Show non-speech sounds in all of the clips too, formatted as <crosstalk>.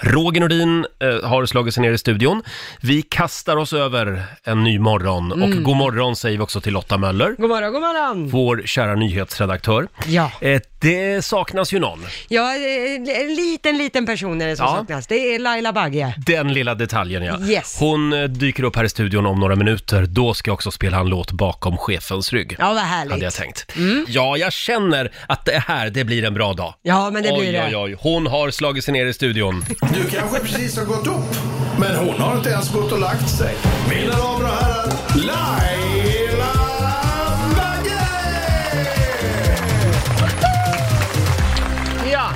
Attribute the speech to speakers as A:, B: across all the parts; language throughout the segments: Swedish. A: Roger Nordin eh, har slagit sig ner i studion. Vi kastar oss över en ny morgon och god morgon säger vi också till Lotta Möller,
B: Mm. God morgon, god morgon.
A: vår kära nyhetsredaktör.
B: Ja.
A: Eh, det saknas ju någon,
B: Ja, eh, en liten, liten person är det som
A: Ja.
B: saknas. Det är Laila Bagge.
A: den lilla detaljen ja.
B: Yes.
A: Hon eh, dyker upp här i studion om några minuter. Då ska jag också spela en låt bakom chefens rygg.
B: Ja, vad
A: Hade jag
B: härligt. Mm.
A: tänkt. Ja, jag känner att det här, det blir en bra dag.
B: Ja, men det
A: oj,
B: blir det.
A: Oj, oj, Hon har slagit sig ner i studion.
C: Du kanske precis har gått upp, men hon har inte ens gått och lagt sig. Mina damer och herrar, Laila Bagge!
A: Ja!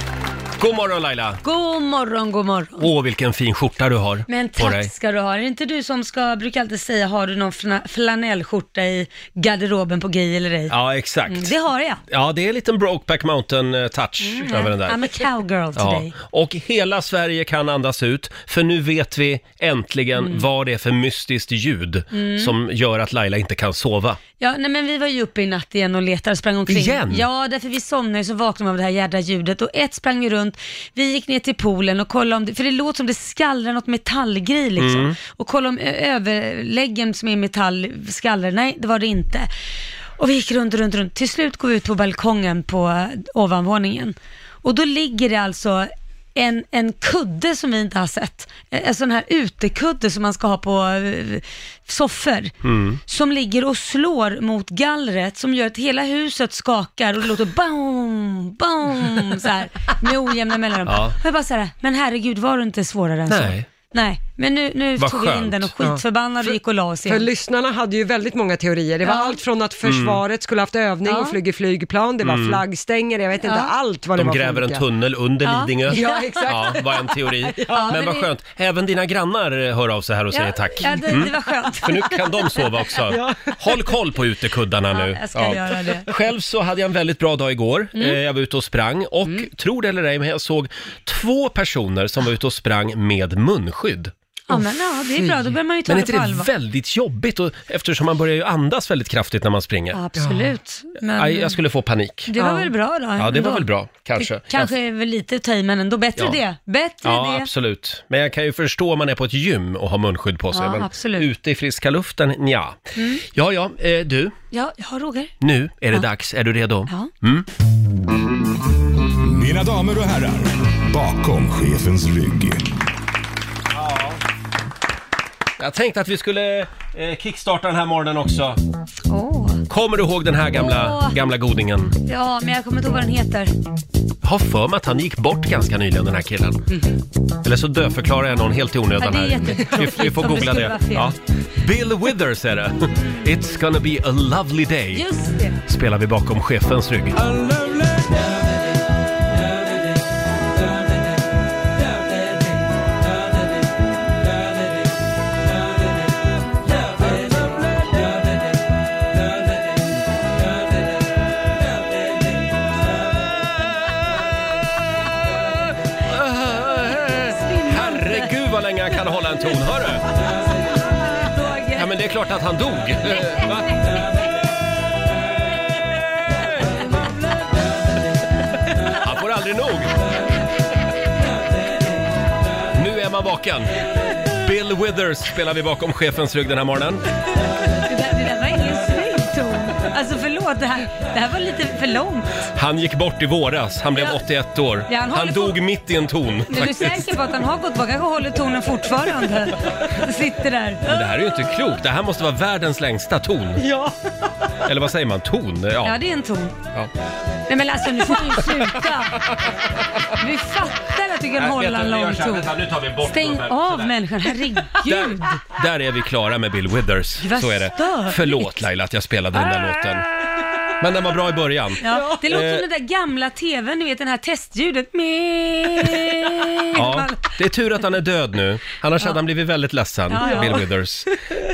A: God morgon Laila!
D: God morgon, god morgon.
A: Åh, vilken fin skjorta du har
D: Men
A: på dig.
D: tack ska du ha. Är det inte du som ska, brukar alltid säga, har du någon fna- flanellskjorta i garderoben på Gay eller ej?
A: Ja, exakt.
D: Mm, Det har jag. Mm,
A: Ja, det är en liten Brokeback Mountain-touch över den där.
D: I'm a cowgirl
A: Ja.
D: today.
A: Och hela Sverige kan andas ut, för nu vet vi äntligen
D: Mm.
A: vad det är för mystiskt ljud som gör att Laila inte kan sova.
D: Ja, nej men vi var ju uppe i natt igen och letade och sprang omkring.
A: Igen?
D: Ja, därför vi somnade ju så vaknade man av det här jädra ljudet och ett sprang vi runt, vi gick ner till poolen och kollade om det, för det låter som det skallrar något metallgrej liksom. Och kollade om ö- överläggen som är i metall skallrar, nej det var det inte. Och vi gick runt, runt, runt. Till slut går vi ut på balkongen på eh, ovanvåningen. Och då ligger det alltså en, en kudde som vi inte har sett. Eh, En en sån här utekudde som man ska ha på eh, soffor. Som ligger och slår mot gallret som gör att hela huset skakar och det låter boom, boom så här med ojämna mellanrum.
A: Ja.
D: Och jag bara så här, men herregud var det inte svårare än så?
A: Nej.
D: Nej, men nu, nu
A: Vad
D: tog vi in
A: skönt.
D: den och skitförbannade och gick och la oss
B: För
D: igen.
B: lyssnarna hade ju väldigt många teorier. Det var
D: Ja.
B: allt från att
A: Mm.
B: försvaret skulle haft övning
D: Ja.
B: och flugit flygplan, det var flaggstänger, jag vet inte
D: Ja.
B: allt vad det
A: De
B: var för
A: gräver en
B: olika.
A: tunnel under
D: Ja.
A: Lidingö.
B: Ja, exakt.
A: Ja, var en
B: <laughs>
A: teori. men
D: men
A: vad
D: det-
A: skönt. Även dina grannar hör av sig här och säger
D: ja,
A: tack. Mm.
D: Ja, det, det var skönt.
A: För nu kan de sova
B: <laughs>
A: också. Håll koll på utekuddarna nu.
D: Ja, jag ska göra det. Mm.
A: Själv så hade jag en väldigt bra dag igår. Eh, Jag var ute och sprang och, tror det eller ej, men jag såg två personer som var ute och sprang med munskydd.
D: Ja, men ja, det är bra, då behöver man ju ta
A: Men är inte
D: det på
A: det
D: allvar.
A: väldigt jobbigt? Och, eftersom man börjar ju andas väldigt kraftigt när man springer.
D: Absolut. Men
A: Aj, jag skulle få panik.
D: det var väl bra då?
A: Ja, det var
D: ändå?
A: väl bra, kanske.
D: Kanske är väl lite att ta i, men ändå bättre
A: Ja.
D: det. Bättre
A: Ja,
D: det.
A: absolut. Men jag kan ju förstå om man är på ett gym och har munskydd på sig.
D: Ja,
A: men
D: absolut.
A: ute i friska luften, nja. Ja, ja, eh, du,
D: Mm. Ja, ja, Roger.
A: nu är det dags. Är du redo? Mm.
D: Ja.
C: Mina damer och herrar, bakom chefens rygg.
A: Jag tänkte att vi skulle eh, kickstarta den här morgonen också.
D: Åh.
A: Kommer du ihåg den här gamla,
D: Åh.
A: gamla godingen?
D: Ja, men jag kommer inte ihåg vad den heter.
A: Har för mig att han gick bort ganska nyligen den här killen. Eller så dödförklarar jag någon helt i onödan
D: Ja, det är
A: här. Vi,
D: jättetråkigt
A: vi får
D: om det
A: googla
D: skulle
A: det.
D: vara fel.
A: Ja. Bill Withers är det. It's gonna be a lovely day.
D: Just det.
A: Spelar vi bakom chefens rygg. Herregud vad länge han kan hålla en ton, hör du? Ja men det är klart att han dog. Va? Han får aldrig nog. Nu är man vaken. Bill Withers spelar vi bakom chefens rygg den här morgonen.
D: Det där, det där var ingen snygg ton. Alltså förlåt, det här, det här var lite för långt.
A: Han gick bort i våras, han blev
D: Ja.
A: 81 år.
D: Ja, han
A: han
D: håller på-
A: dog mitt i en ton.
D: Är du
A: faktiskt.
D: säker på att han har gått bak? Han kanske håller tonen fortfarande. Sitter där.
A: Det här är ju inte klokt, det här måste vara världens längsta ton.
B: Ja.
A: Eller vad säger man, ton?
D: Ja,
A: Ja.
D: det är en ton.
A: Ja.
D: Nej men alltså nu får du sluta. Vi fattar att du kan
A: Nej,
D: hålla
A: vänta,
D: en
A: vi gör
D: lång
A: så här,
D: ton.
A: vänta, nu tar vi bort
D: Stäng
A: den.
D: av
A: Sådär.
D: människan, herregud.
A: Där är vi klara med Bill Withers.
D: Vad
A: Så är det.
D: störigt.
A: Förlåt Laila att jag spelade den där låten. Men den var bra i början.
D: Ja, det låter
A: Eh.
D: som den där gamla tvn, ni vet den här testljudet. Med-
A: Ja, det är tur att han är död nu. Annars hade han blivit väldigt ledsen,
D: Ja, ja.
A: Bill Withers.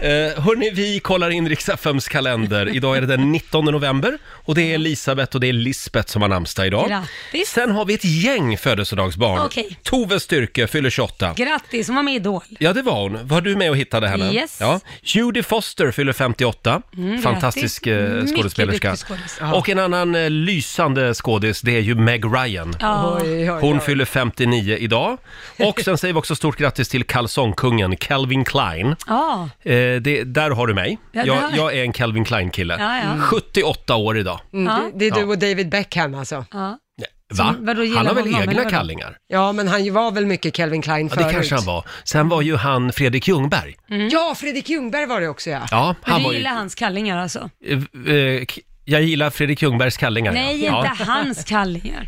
A: Eh, hörni, vi kollar in riks FMs kalender. Idag är det den 19 november och det är Elisabeth och det är Lisbeth som har namnsdag idag.
D: Grattis.
A: Sen har vi ett gäng födelsedagsbarn.
D: Okej.
A: Tove Styrke fyller 28.
D: Grattis, hon var med i Idol.
A: Ja, det var hon. Var du med och hittade henne?
D: Yes. Mm,
A: Ja. Judy Foster fyller 58.
D: grattis.
A: Fantastisk eh,
D: Mycket
A: skådespelerska.
D: duktig skådis.
A: Och en annan eh, lysande skådis, det är ju Meg Ryan.
D: Ja.
B: Oj, oj, oj.
A: Hon fyller 59 idag. Och sen säger vi också stort grattis till kalsongkungen Calvin Klein.
D: ja.
A: Eh, det, där har du mig.
D: Ja, där har
A: jag,
D: vi.
A: jag är en Calvin Klein-kille.
D: Ja, ja.
A: 78 år idag.
B: Mm,
D: Ja.
B: det, det är du och David Beckham alltså.
D: ja.
A: Va?
D: Som- vadå, gillar
A: han har väl
D: honom, eller
A: egna
D: vadå?
A: kallingar?
B: Ja, men han var väl mycket Calvin Klein
A: Ja,
B: förut.
A: det kanske han var. Sen var ju han Fredrik Ljungberg.
B: Ja, Fredrik Ljungberg var det också ja.
A: Ja,
D: Mm. Men
A: han
D: du
A: var ju...
D: gillar hans kallingar alltså?
A: Eh, eh, k- Jag gillar Fredrik Ljungbergs kallingar.
D: Nej, inte
A: ja.
B: <laughs>
D: hans kallingar.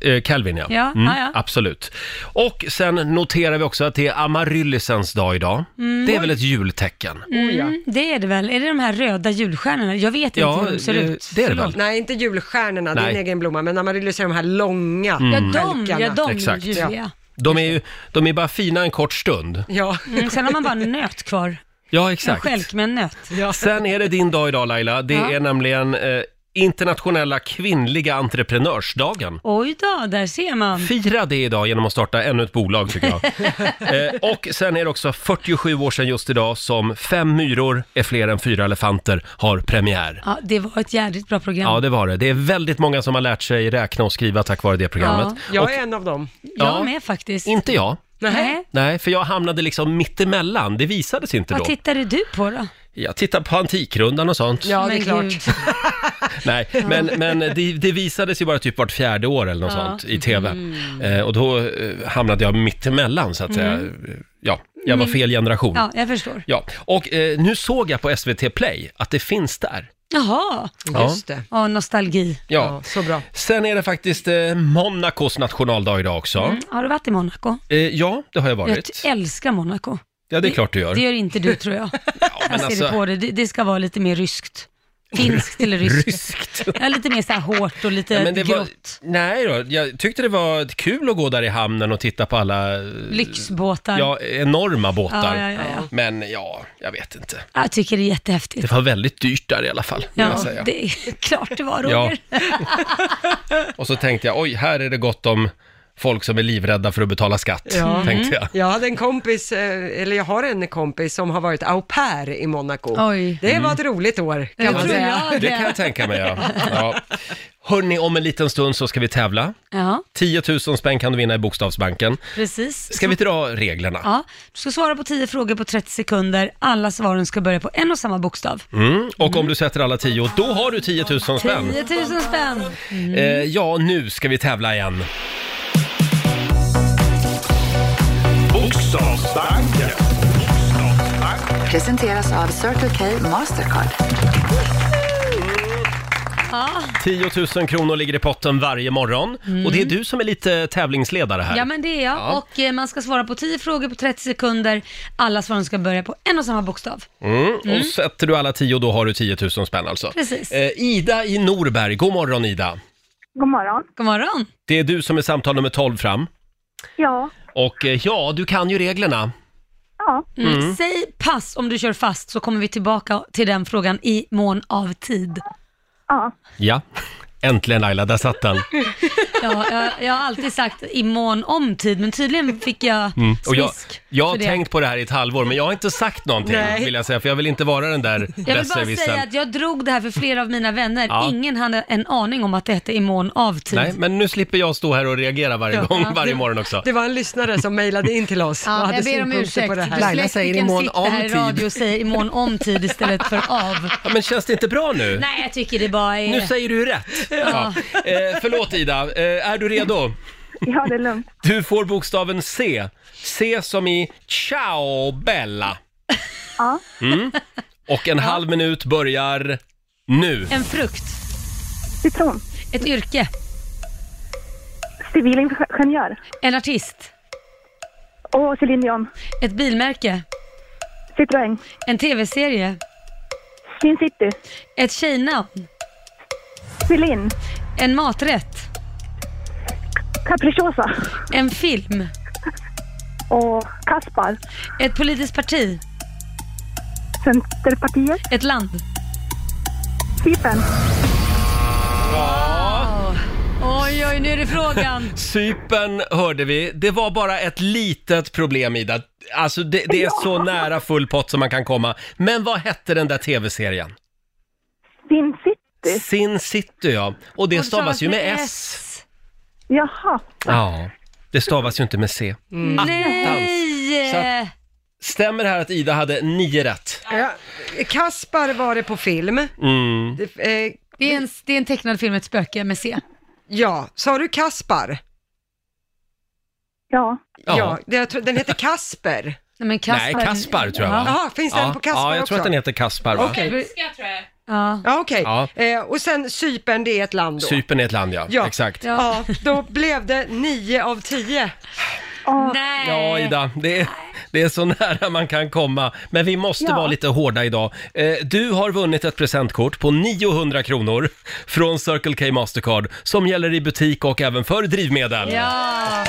A: Ja, eh, Calvin ja.
D: Ja,
A: Mm,
D: ja, ja.
A: Absolut. Och sen noterar vi också att det är amaryllisens dag idag. Det är väl ett jultecken?
B: Oh, ja.
D: Mm, det är det väl? Är det de här röda julstjärnorna? Jag vet inte
A: Ja,
D: hur de ser
A: eh,
D: ut.
A: det är det
D: Förlåt.
A: väl.
B: Nej, inte julstjärnorna, det är
A: Nej.
B: en egen blomma, men amaryllis är de här långa
D: Ja, de,
B: stjälkarna.
D: ja, de
A: Mm. Exakt.
D: Julia.
A: De är ju de är bara fina en kort stund.
B: Ja.
D: Mm, sen har man bara en nöt kvar.
A: Ja,
D: En
A: exakt.
D: stjälk med en nöt.
A: Sen är det din dag idag Laila. Det
D: Ja.
A: är nämligen eh, internationella kvinnliga entreprenörsdagen.
D: Oj då, där ser man. <laughs>
A: Fira det idag genom att starta ännu ett bolag tycker jag. eh, och sen är det också 47 år sedan just idag som Fem myror är fler än fyra elefanter har premiär.
D: Ja, det var ett jävligt bra program.
A: Ja, det var det. Det är väldigt många som har lärt sig räkna och skriva tack vare det programmet.
B: Jag är en av dem.
A: ja.
D: Jag med faktiskt.
A: Inte jag.
D: Nej.
A: Nej, för jag hamnade liksom mittemellan. Det visades inte då.
D: Vad tittade du på då?
A: Jag tittar på Antikrundan och sånt.
B: Ja, det är
D: Men
B: klart.
D: gud.
A: Nej, men, men det, det visades ju bara typ vart fjärde år eller något
D: Ja.
A: sånt i tv.
B: Mm.
A: Eh, och då eh, hamnade jag mittemellan så att säga.
B: Mm.
A: Ja, <laughs> jag var fel generation. Ja.
D: Ja, jag förstår.
A: och eh, nu såg jag på SVT Play att det finns där.
D: Jaha,
A: Ja.
B: Just det.
D: ja, nostalgi.
A: Ja.
B: Ja, så bra.
A: Sen är det faktiskt eh, Monacos nationaldag idag också.
D: Har du varit i Monaco?
A: Eh, ja, det har jag
D: Mm. Jag
A: varit.
D: älskar Monaco.
A: Ja, det är klart du gör.
D: Det gör inte du tror jag.
A: <laughs> Ja,
D: Jag
A: men
D: ser det på
A: alltså,
D: dig. Det, det ska vara lite mer ryskt. Finskt eller ryskt.
A: ryskt.
D: <laughs> Ja, lite mer så här hårt och lite
A: Ja, men det var,
D: grått.
A: nej då, jag tyckte det var kul att gå där i hamnen och titta på alla eh,
D: Lyxbåtar.
A: ja, enorma båtar.
D: Ja, ja, ja, ja.
A: Men ja, jag vet inte.
D: Jag tycker det är jättehäftigt.
A: Det var väldigt dyrt där i alla fall, vill jag
D: Ja,
A: säga.
D: det är <laughs> klart det var Roger.
A: Och så tänkte jag, oj, här är det gott om folk som är livrädda för att betala skatt,
D: Mm.
B: Ja.
A: tänkte jag.
B: Jag hade en kompis, eh, eller jag har en kompis som har varit au pair i Monaco.
D: Oj.
B: Det var ett roligt år kan man
D: tror
B: säga.
D: jag
A: Mm. Det kan jag tänka mig, ja. ja. Hörni, om en liten stund så ska vi tävla.
D: Ja,
A: 10 000 spänn kan du vinna i Bokstavsbanken.
D: precis.
A: Ska vi dra reglerna?
D: Ja, du ska svara på 10 frågor på 30 sekunder. Alla svaren ska börja på en och samma bokstav.
A: Mm. Och om du sätter alla 10, då har du 10 000 spänn.
D: 10 000 spänn.
A: Eh, ja, nu ska vi tävla igen.
C: Bokstavsbanken.
E: Presenteras av Circle K Mastercard.
A: 10 000 kronor ligger i potten varje morgon. Och det är du som är lite tävlingsledare här.
D: Mm. Ja, men det är jag.
A: Ja.
D: Och eh, man ska svara på 10 frågor på 30 sekunder. Alla svaren ska börja på en och samma bokstav.
A: Mm. Och sätter du alla 10, då har du 10 000 spänn alltså.
D: Precis.
A: Eh, Ida i Norberg, god morgon Ida.
F: God morgon.
D: God morgon.
A: Det är du som är samtal nummer 12 fram.
F: Ja,
A: Och eh, ja, du kan ju reglerna.
F: ja,
D: Mm. Säg pass om du kör fast så kommer vi tillbaka till den frågan i mån av tid.
F: ja.
A: Ja. Äntligen Laila, där satt
D: <laughs>
A: den.
D: Ja, jag, jag har alltid sagt i mån om tid, men tydligen fick jag
A: Mm. Och jag,
D: smisk
A: jag har
D: för det.
A: tänkt på det här i ett halvår, men jag har inte sagt någonting
B: Nej.
A: vill jag säga, för jag vill inte vara den där
D: Jag vill bara säga
A: besserwissern.
D: att jag drog det här för flera av mina vänner.
A: Ja.
D: Ingen hade en aning om att det hette i mån av tid.
A: Nej, men nu slipper jag stå här och reagera varje
D: Ja.
A: gång, varje morgon också.
B: Det var en lyssnare som mejlade in till oss och
D: Ja,
B: hade
D: jag ber om
B: synpunkter
D: ursäkt.
B: på det här.
A: Laila säger i mån
D: Dyslektikern sitter här
A: om
D: i
A: tid.
D: radio och säger i mån om tid istället för av.
A: Ja, men känns det inte bra nu?
D: Nej, jag tycker det bara är...
A: Nu säger du ju rätt. Ja.
D: Ja.
A: Eh, förlåt Ida, eh, är du redo?
F: Ja, det är lugnt.
A: Du får bokstaven C. C som i ciao Bella.
F: Ja.
A: Mm. Och en halv minut börjar nu.
D: En frukt,
F: Citron.
D: ett yrke,
F: Civilingenjör.
D: en artist,
F: Och Céline Dion.
D: ett bilmärke,
F: Citroën.
D: en tv-serie,
F: Sin City.
D: ett tjejnamn,
F: Céline.
D: en maträtt,
F: Capricciosa.
D: en film,
F: Och Kaspar.
D: ett politiskt parti,
F: Centerpartiet.
D: Ett land.
F: Cypern.
D: Oj, oj, nu är
A: <laughs>
D: det frågan.
A: Cypern hörde vi. Det var bara ett litet problem Ida. Alltså det, det är så nära full pott som man kan komma. Men vad hette den där tv-serien?
F: Sin City.
A: Sin City ja. Och det
D: Och
A: stavas ju med S.
F: Jaha.
A: Ja, det stavas ju inte med C.
D: Nej!
A: Så att- Stämmer det här att Ida hade nio rätt?
B: Ja, Kaspar var det på film.
A: Mm.
B: Det, eh,
D: Det är, en, det är en tecknad film, ett spöke med C.
B: ja, sa du Kaspar?
F: Ja.
A: Ja.
B: Ja, det, jag tror, den heter Kasper.
D: <laughs> Nej, men Kaspar.
A: Nej, Kaspar tror jag va?
D: Ja.
B: Jaha, finns den
A: ja.
B: på Kaspar
A: Ja, jag
B: också?
A: tror att den heter Kaspar va?
B: Okej.
D: Ja.
B: Ja, okej.
A: Ja.
B: Eh, och sen Cypern, det är ett land då.
A: Cypern är ett land ja,
B: Ja.
A: exakt. Ja.
D: Ja.
B: Ja, då blev det nio av tio.
D: Nej.
A: Ida, det är, det är så <laughs> nära man kan komma. Men vi måste
F: Ja.
A: vara lite hårda idag. Eh, Du har vunnit ett presentkort på 900 kronor från Circle K Mastercard som gäller i butik och även för drivmedel.
D: Ja.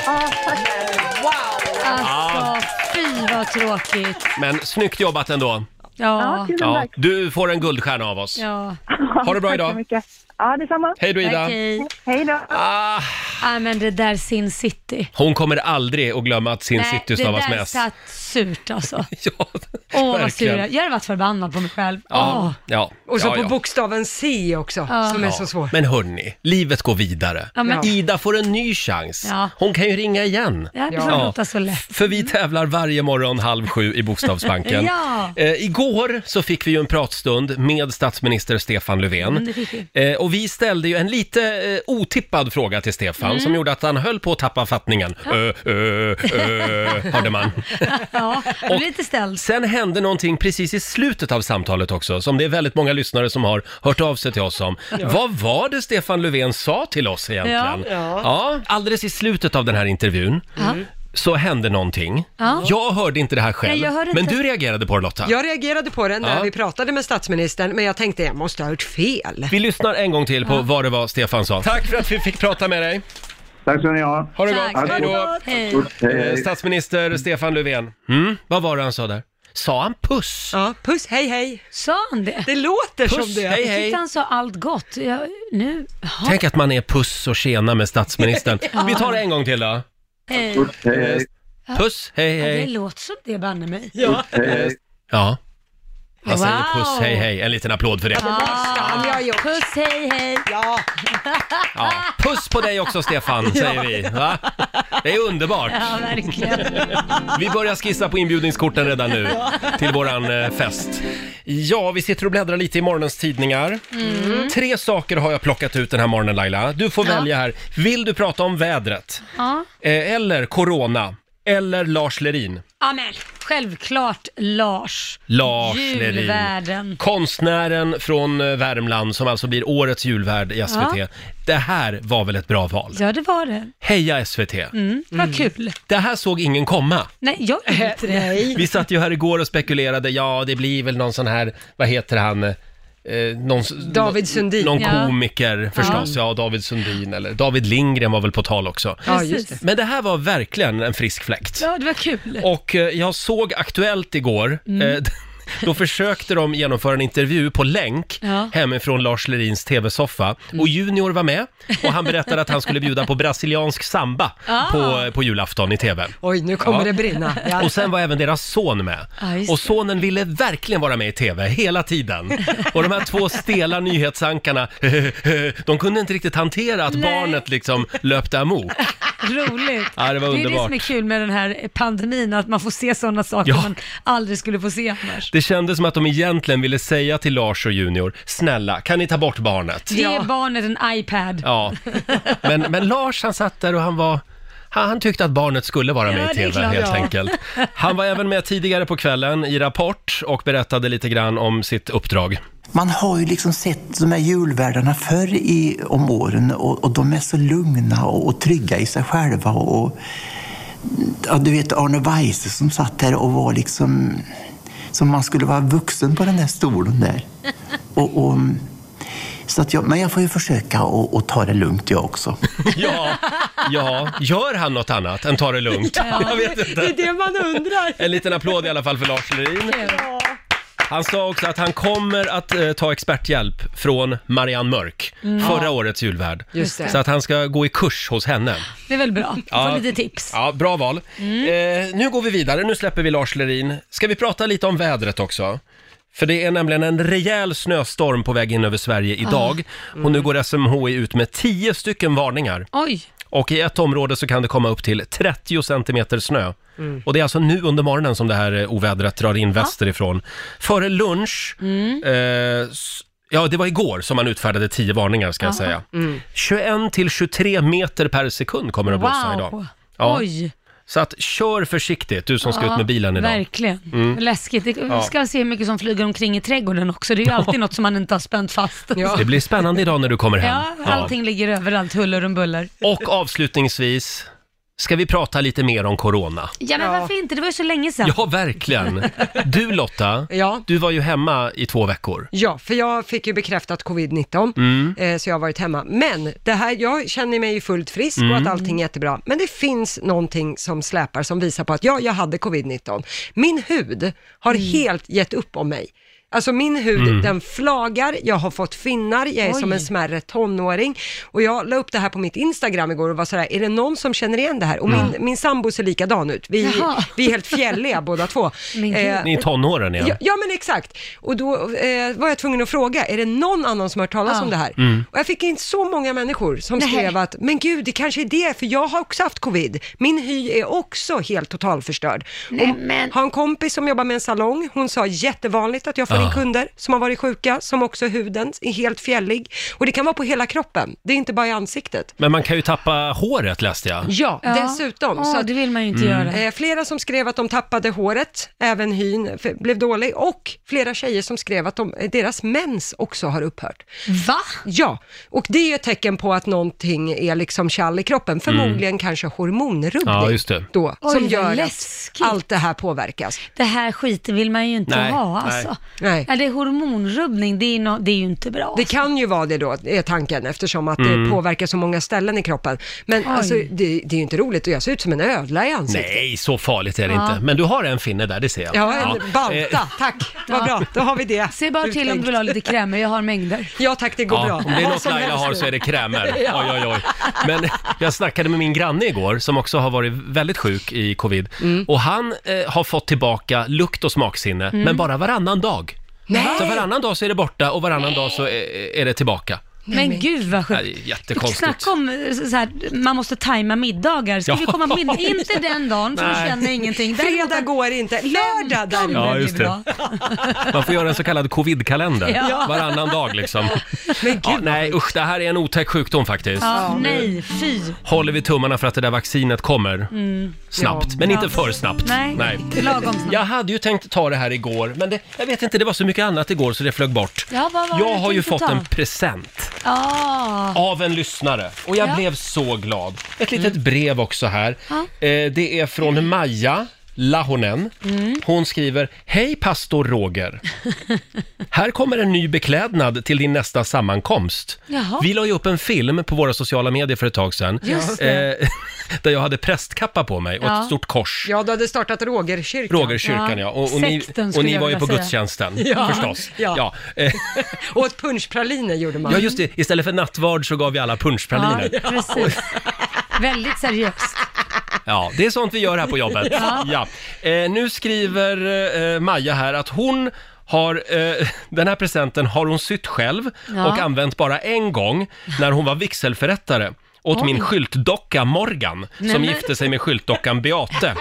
D: Alltså, fy vad tråkigt.
A: Men snyggt jobbat ändå.
D: Ja.
F: Ja, tusen
A: Ja,
F: tack.
A: du får en guldstjärna av oss.
D: Ja,
A: Ha det bra
F: Tack
A: idag.
F: så mycket. Ja, detsamma.
A: Hej då Ida.
D: okej.
F: Hej då.
A: Ah,
D: Ah, men det där Sin City.
A: hon kommer aldrig att glömma att sin city
D: det
A: stavas
D: där
A: med S.
D: satt surt alltså.
A: <laughs> Ja,
D: Åh, vad sur
A: verkligen.
D: jag är. Jag hade varit förbannad på mig själv.
A: Ja,
D: Åh. <laughs>
A: ja.
B: Och så
A: ja,
B: på
A: ja.
B: bokstaven C också, som är så svår.
A: Men hörni, livet går vidare.
D: Ja, men-
A: Ida får en ny chans.
D: Ja.
A: Hon kan ju ringa igen.
D: Det här
B: Ja.
D: ja. låta så lätt.
A: För vi tävlar varje morgon halv sju i Bokstavsbanken.
D: Mm. <laughs> Ja.
A: eh, igår så fick vi ju en pratstund med statsminister Stefan Löfven.
D: Mm, det fick vi.
A: Eh, och vi ställde ju en lite eh, otippad fråga till Stefan
D: Mm.
A: som gjorde att han höll på att tappa fattningen. Ö, ö,
D: <laughs>
A: ö, hörde man.
D: Ja, jag blir lite ställd.
A: Sen hände någonting precis i slutet av samtalet också, som det är väldigt många lyssnare som har hört av sig till oss om. Vad var det Stefan Löfven sa till oss egentligen?
B: Ja. Ja.
A: alldeles i slutet av den här intervjun
D: Mm.
A: så hände någonting.
D: Ja.
A: Jag hörde inte det här själv,
D: Nej, jag hörde
A: men
D: inte.
A: du reagerade på det Lotta.
B: Mm. Jag reagerade på den när
A: Ja.
B: vi pratade med statsministern, men jag tänkte jag måste ha hört fel.
A: Vi lyssnar en gång till på vad det var Stefan sa. Tack för att vi fick prata med dig.
G: Tack ska ni ha.
A: Ha det
D: Tack.
A: gott. Hej då.
D: Hej.
A: Eh,
G: Hej.
A: Statsminister Stefan Löfven. Mm, vad var det han sa där? Sa han puss?
B: Ja, puss, hej hej.
D: Sa han det?
B: <laughs> Det låter som
A: Puss,
B: det.
A: hej
D: Jag
A: hej.
D: tyckte han sa allt gott. Jag, nu, jaha.
A: Tänk att man är puss och tjena med <laughs> statsministern. Vi tar det en gång till då.
D: Hej.
G: Hej.
A: Puss, hej
D: Ja, det
A: hej.
D: låter som det, banne mig.
G: Hej.
A: Ja. Han
D: Wow.
A: säger puss, hej hej. En liten applåd för det.
B: han ha gjort.
D: Puss, hej, hej.
B: Ja,
A: Ja. Puss på dig också
D: <laughs>
A: Stefan, säger vi. Va? Det är underbart.
D: Ja, verkligen.
A: Vi börjar skissa på inbjudningskorten redan nu till våran eh, fest. Ja, vi sitter och bläddrar lite i morgonens tidningar.
D: Mm.
A: Tre saker har jag plockat ut den här morgonen Laila. Du får välja här. Vill du prata om vädret?
D: Ja.
A: Eh, Eller corona? Eller Lars Lerin?
D: ja, men självklart Lars.
A: Lars Lerin.
D: Julvärden.
A: Konstnären från eh, Värmland som alltså blir årets julvärd i SVT.
D: Ja.
A: Det här var väl ett bra val?
D: Ja, det var det.
A: Heja SVT!
D: Mm. Vad kul.
A: Det här såg ingen komma.
D: Nej, jag gjorde inte det.
A: Vi satt ju här igår och spekulerade, ja det blir väl någon sån här, vad heter han, eh, någon, s-
B: David Sundin.
A: någon
D: Ja.
A: komiker förstås, ja. David Sundin eller David Lindgren var väl på tal också.
B: ja just det.
A: Men det här var verkligen en frisk fläkt.
D: Ja, det var kul.
A: Och eh, jag såg Aktuellt igår. Eh, då försökte de genomföra en intervju på länk
D: <laughs> Ja.
A: hemifrån Lars Lerins tv-soffa. Och Junior var med och han berättade att han skulle bjuda på brasiliansk samba på, på julafton i tv.
B: Oj, nu kommer
A: Ja. <laughs>
B: det brinna. Ja.
A: Och sen var även deras son med.
D: Ja, just
A: och sonen ville verkligen vara med i TV hela tiden. Och de här två stela
D: <laughs>
A: nyhetsankarna, <laughs> de kunde inte riktigt hantera att
D: Nej.
A: barnet liksom löpte
D: <laughs>
A: amok.
D: <laughs> Roligt.
A: Ja, det var
D: Det är det
A: underbart.
D: som är kul med den här pandemin, att man får se sådana saker
A: Ja.
D: man aldrig skulle få se annars.
A: Det kändes som att de egentligen ville säga till Lars och Junior, snälla, kan ni ta bort barnet?
D: Ge barnet en iPad.
A: Ja. Men, men Lars han satt där och han var han, han tyckte att barnet skulle vara med
D: Ja,
A: i
D: det är
A: TV
D: klart,
A: helt
D: ja.
A: enkelt. Han var även med tidigare på kvällen i Rapport och berättade lite grann om sitt uppdrag.
H: Man har ju liksom sett de här julvärdarna förr i, om åren och, och de är så lugna och, och trygga i sig själva. Och, och, ja, du vet Arne Weise som satt här och var liksom som man skulle vara vuxen på den där stolen där. Och, och, så att jag, men jag får ju försöka och, och ta det lugnt jag också.
A: Ja, ja, gör han något annat än ta det lugnt? <laughs> Jag vet
B: Det
A: inte.
B: är det man undrar.
A: En liten applåd i alla fall för Lars Lerin. Han sa också att han kommer att eh, ta experthjälp från Marianne Mörk, förra årets julvärd.
B: Mm. Just det.
A: Så att han ska gå i kurs hos henne.
D: Det är väl bra.
A: Ja.
D: Få lite tips.
A: Ja, bra val.
B: Mm.
A: Eh, nu går vi vidare, nu släpper vi Lars Lerin. Ska vi prata lite om vädret också? För det är nämligen en rejäl snöstorm på väg in över Sverige idag.
B: Ah.
A: Och
B: Mm.
A: nu går SMHI ut med 10 stycken varningar.
D: Oj,
A: Och i ett område så kan det komma upp till 30 centimeter snö.
B: Mm.
A: Och det är alltså nu under morgonen som det här eh, ovädret drar in västerifrån. Före lunch,
D: Mm.
A: eh, s- ja det var igår som man utfärdade 10 varningar ska jag säga.
D: Mm.
B: Mm.
A: 21 till 23 meter per sekund kommer det att blåsa idag.
D: wow.
A: Ja.
D: Oj,
A: Så att kör försiktigt du som ska ut med bilen idag. Mm.
D: verkligen. Läskigt. Det- Vi ska se hur mycket som flyger omkring i trädgården också. Det är ju alltid något som man inte har spänt fast. Ja,
A: Det blir spännande idag när du kommer hem.
D: allting ligger överallt, huller om buller.
A: Och avslutningsvis ska vi prata lite mer om corona.
D: Ja, men varför inte? Det var ju så länge sedan.
A: Ja, verkligen. Du Lotta,
B: Ja.
A: du var ju hemma i två veckor.
B: Ja, för jag fick ju bekräftat covid-19,
A: Mm.
B: eh, så jag har varit hemma. Men det här, jag känner mig ju fullt frisk och att allting är jättebra. Men det finns någonting som släpar som visar på att ja, jag hade covid-19. Min hud har helt gett upp om mig. Alltså min hud, den flagar, jag har fått finnar, jag är
D: Oj.
B: som en smärre tonåring. Och jag la upp det här på mitt Instagram igår och var sådär, är det någon som känner igen det här? Och min, min sambo ser likadan ut. Vi,
D: Jaha.
B: vi är helt fjälliga båda två.
D: Men gud.
A: Ni är i tonåren igen.
B: Eh, Ja, ja men exakt. Och då eh, var jag tvungen att fråga, är det någon annan som har hört talas
D: Ja.
B: om det här?
A: Mm.
B: Och jag fick in så många människor som
D: Nej.
B: skrev att, men gud det kanske är det, för jag har också haft covid. Min hy är också helt totalförstörd.
D: Nej,
B: Och
D: men-
B: Har en kompis som jobbar med en salong, hon sa jättevanligt att jag får
A: Ah.
B: in kunder som har varit sjuka, som också huden är helt fjällig. Och det kan vara på hela kroppen, det är inte bara i ansiktet.
A: Men man kan ju tappa håret läste jag.
B: Ja,
D: Ja.
B: dessutom.
D: Åh,
B: så att-
D: det vill man ju inte göra.
B: Eh, flera som skrev att de tappade håret, även hyn f- blev dålig och flera tjejer som skrev att de, eh, deras mens också har upphört.
D: Va?
B: Ja, och det är ju ett tecken på att någonting är liksom kall i kroppen, förmodligen kanske hormonrubbning
A: Mm. Ja, just det.
B: då,
D: Oj,
B: som
D: vad
B: gör
D: läskigt.
B: att allt det här påverkas.
D: Det här skiten vill man ju inte
A: Nej,
D: ha
A: nej.
D: alltså.
B: Nej.
D: Ja, det är hormonrubbning, det är, no- det är ju inte bra. alltså.
B: Det kan ju vara det då, är tanken, eftersom att
A: Mm.
B: det påverkar så många ställen i kroppen. Men alltså, det, det är ju inte roligt att jag ser ut som en ödla i ansiktet.
A: Nej, så farligt är det
D: Ja.
A: inte. Men du har en finne där, det ser jag.
B: Ja, en
A: Eh,
D: <laughs>
B: balta, tack. Vad bra, då har vi det.
D: Se bara till om du vill ha lite krämer, jag har mängder.
B: Ja tack, det går
A: ja,
B: bra.
A: Om det är
B: Vad
A: något
B: som
A: Laila
B: helst
A: har
B: nu.
A: så är det
B: <laughs>
A: krämer. Oj, oj, oj. Men jag snackade med min granne igår som också har varit väldigt sjuk i covid.
B: Mm.
A: Och han eh, har fått tillbaka lukt och smaksinne, men bara varannan dag. Så varannan dag så är det borta och varannan dag så är, är det tillbaka.
D: Men gud vad
A: Ja, Det
D: sjukt.
A: är jättekonstigt.
D: Snacka om eh, så här, man måste tajma middagar. Ska
A: Ja.
D: vi komma på middag? Inte den dagen, för då
A: Nej.
D: känner jag ingenting.
B: Fredag går inte, lördag däremot.
A: Ja,
D: Ja,
A: just
D: just
A: det.
D: Bra.
A: Man får göra en så kallad covid-kalender.
D: Ja.
A: Varannan dag liksom. ja, nej usch, det här är en otäck sjukdom faktiskt.
D: Ja, nej, fy.
A: Håller vi tummarna för att det där vaccinet kommer snabbt, men inte för snabbt.
D: Mm. Nej, lagom snabbt.
A: Jag hade ju tänkt ta det här igår, men det, jag vet inte, det var så mycket annat igår så det flög bort.
D: Ja, vad var det
A: jag
D: du
A: har ju
D: tänkte
A: fått
D: ta?
A: en present
D: Ah.
A: av en lyssnare och jag
D: Ja. Mm.
A: blev så glad. Ett litet brev också här. Eh, det är från Maja Lahonen.
D: Mm.
A: Hon skriver, Hej pastor Roger! Här kommer en ny beklädnad till din nästa sammankomst.
D: Jaha.
A: Vi la ju upp en film på våra sociala medier för ett tag sedan.
D: Just
A: Eh, <laughs> där jag hade prästkappa på mig och
D: Ja.
A: ett stort kors.
B: Ja, du hade startat Rogerkyrkan.
A: Rogerkyrkan ja,
D: Ja.
A: och, och, ni,
D: Sekten
A: och
D: skulle
A: ni
D: jag
A: var ju på
D: vilja säga.
A: gudstjänsten
B: Ja.
A: förstås.
B: Ja.
A: Ja. Eh,
B: Och ett punschpraliner gjorde man.
A: ja, just det. Istället för nattvard så gav vi alla punschpraliner.
D: Ja, precis. Väldigt seriöst.
A: Ja, det är sånt vi gör här på
D: <laughs>
A: jobbet. Ja. Eh, nu skriver eh, Maja här att hon har, eh, <laughs> den här presenten har hon sytt själv
D: Ja.
A: och använt bara en gång när hon var vigselförrättare åt min skyltdocka Morgan som
D: men-
A: gifte sig med skyltdockan Beate.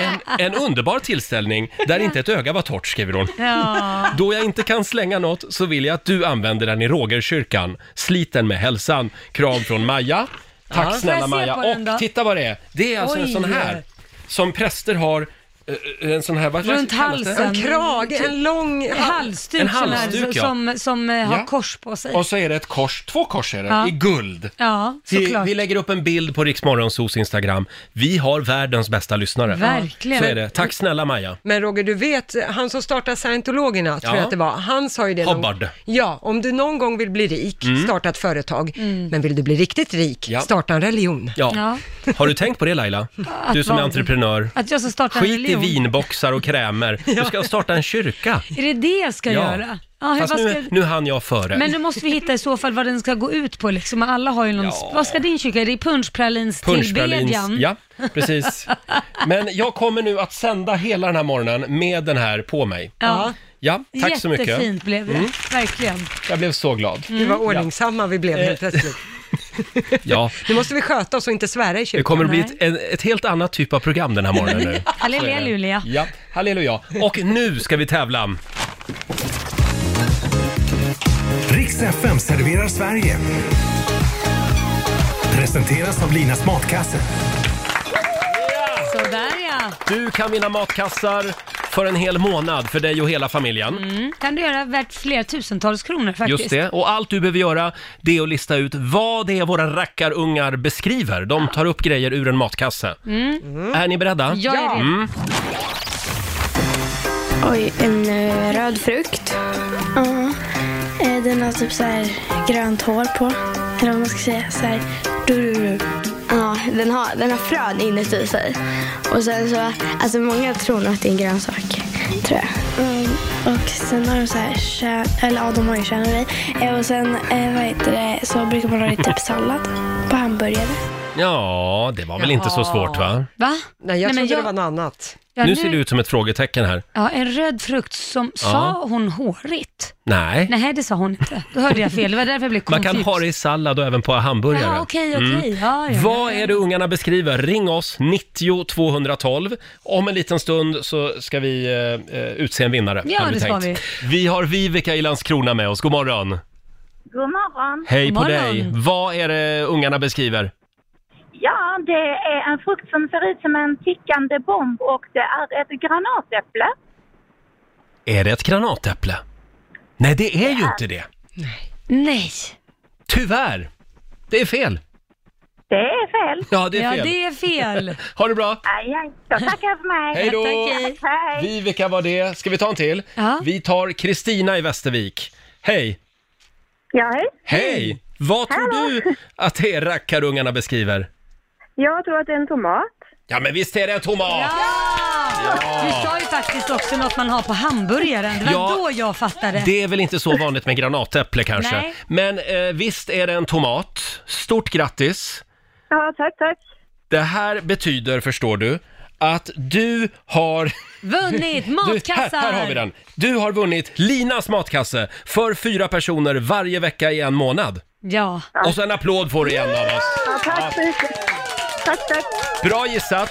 A: En, en underbar tillställning där inte ett öga var torrt skriver hon.
D: Ja.
A: Då jag inte kan slänga något så vill jag att du använder den i Rogerkyrkan. Slit den med hälsan. Kram från Maja. <laughs> Tack
D: Får jag
A: snälla
D: se
A: Maja.
D: på den
A: Och
D: då?
A: titta vad det är. Det är alltså en
D: Oj.
A: sån här som präster har. eh, En sån här, vad vad
D: Runt
A: kallas det?
D: halsen.
B: En krage, en lång...
D: Halsduk,
A: En
D: sån här
A: halsduk, ja.
D: som, som eh, har
A: Ja.
D: kors på sig.
A: Och så är det ett kors, två kors är det,
D: Ja.
A: i guld.
D: Ja,
A: Vi,
D: såklart.
A: vi lägger upp en bild på Riksmorgonsos Instagram. Vi har världens bästa lyssnare.
D: Verkligen.
A: Så är det. Tack snälla Maja.
B: Men Roger, du vet, han som startade scientologerna, tror
A: Ja.
B: jag att det var, han sa ju det...
A: Hubbard. Mm.
B: Någon, ja, om du någon gång vill bli rik, starta ett företag. Men vill du bli riktigt rik,
A: Ja.
B: starta en religion.
A: Ja.
D: Mm. Ja.
A: Har du tänkt på det
D: <laughs>
A: Laila? Du som är
D: vad?
A: entreprenör.
D: Att jag ska starta en
A: Skit i
D: religion?
A: vinboxar och
D: <laughs>
A: krämer. Du ska starta en kyrka.
D: Är det det jag ska göra? Ja, hur,
A: Fast
D: vad ska...
A: nu, nu hann jag före.
D: Men nu måste vi hitta i så fall vad den ska gå ut på liksom. Alla har ju någon...
A: Ja.
D: Vad ska din kyrka? Är det punschpralins
A: Punschpralins.
D: tillbedjan?
A: Ja, precis. Men jag kommer nu att sända hela den här morgonen med den här på mig.
D: ja.
A: Ja, tack
D: Jättefint
A: så mycket. Mm.
D: blev det, Mm. verkligen.
A: Jag blev så glad.
B: Det var ordningsamma vi blev
A: Eh.
B: helt plötsligt.
D: <laughs>
A: Ja,
B: Nu måste vi sköta oss och inte svära i
A: det
B: kyrkan.
A: kommer att bli ett, en- ett helt annat typ av program den här morgonen
B: <laughs>
A: nu.
D: <laughs> Halleluja, Julia.
A: Ja, halleluja. Och nu ska vi tävla.
I: Riks FM serverar Sverige. Presenteras av Linas Matkasse.
D: Sådär ja.
A: Du kan vinna matkassar för en hel månad för dig och hela familjen.
D: Mm. Kan du göra värt flera tusentals kronor faktiskt.
A: Just det. Och allt du behöver göra, det är att lista ut vad det är våra rackarungar beskriver. De tar upp grejer ur en matkasse. Mm. Är ni beredda?
D: Mm.
A: Mm.
D: Jag är redo.
J: Oj, en eh, röd frukt. Ja. Eh, den har typ så här grönt hår på. Eller vad man ska säga. Så här. Du, du, du. Ja, den har, den har frön inuti sig. Och sen så, alltså många tror nog att det är en grönsak. Tror jag. Mm, och sen har de så här, kär, eller ja, de har ju kärnor i. Eh, och sen, eh, vad heter det, så brukar man ha det
A: <laughs>
J: i typ sallad på hamburgare.
A: Ja, det var väl inte så svårt va?
D: Va?
B: Nej, jag
D: Nej, men
B: trodde
D: jag-
B: det var något annat.
D: Ja,
A: nu ser det ut som ett frågetecken här.
D: Ja, en röd frukt som... Sa hon hårigt?
A: Nej.
D: Nej, det sa hon inte. Då hörde jag fel. Det var därför jag blev
A: Man
D: confused.
A: kan ha det i sallad och även på hamburgare. Mm.
D: Ja, okej, okej. Ja, ja.
A: Vad är det ungarna beskriver? Ring oss, 90 212. Om en liten stund så ska vi eh, eh, utse en vinnare.
D: Ja,
A: hade
D: det ska
A: vi. vi har Viveka i Landskrona med oss. God morgon!
F: God morgon.
A: Hej
D: God
A: på
D: morgon.
A: dig! Vad är det ungarna beskriver?
F: Ja, det är en frukt som ser ut som en tickande bomb och det är ett granatäpple.
A: Är det ett granatäpple? Nej, det är ju inte det.
D: Nej.
A: Tyvärr! Det är fel.
F: Det är fel.
A: Ja, det är
D: Ja,
A: fel.
D: det är fel.
A: <laughs> Ha det bra!
F: Aj, aj. Så tackar för mig.
A: Hej då!
D: tack, hej.
F: Hej.
A: Viveka var det. Ska vi ta en till?
D: Ja.
A: Vi tar Kristina i Västervik. Hej!
F: Ja, hej.
A: Hej! Vad tror du att det är rackarungarna beskriver?
F: Jag tror att det är en tomat.
A: Ja, men visst är det en tomat!
D: Ja! Du sa ju faktiskt också något man har på hamburgaren. Det var
A: Ja.
D: då jag fattade.
A: Det är väl inte så vanligt med granatäpple kanske.
D: Nej.
A: Men eh, visst är det en tomat. Stort grattis!
F: Ja, tack, tack.
A: Det här betyder, förstår du, att du har...
D: Vunnit
A: <laughs> Du,
D: matkassar!
A: här, här har vi den! Du har vunnit Linas matkasse för fyra personer varje vecka i en månad.
D: Ja.
A: Och så en applåd får du igen av oss.
F: Ja, tack så mycket. Tack, tack.
A: Bra gissat!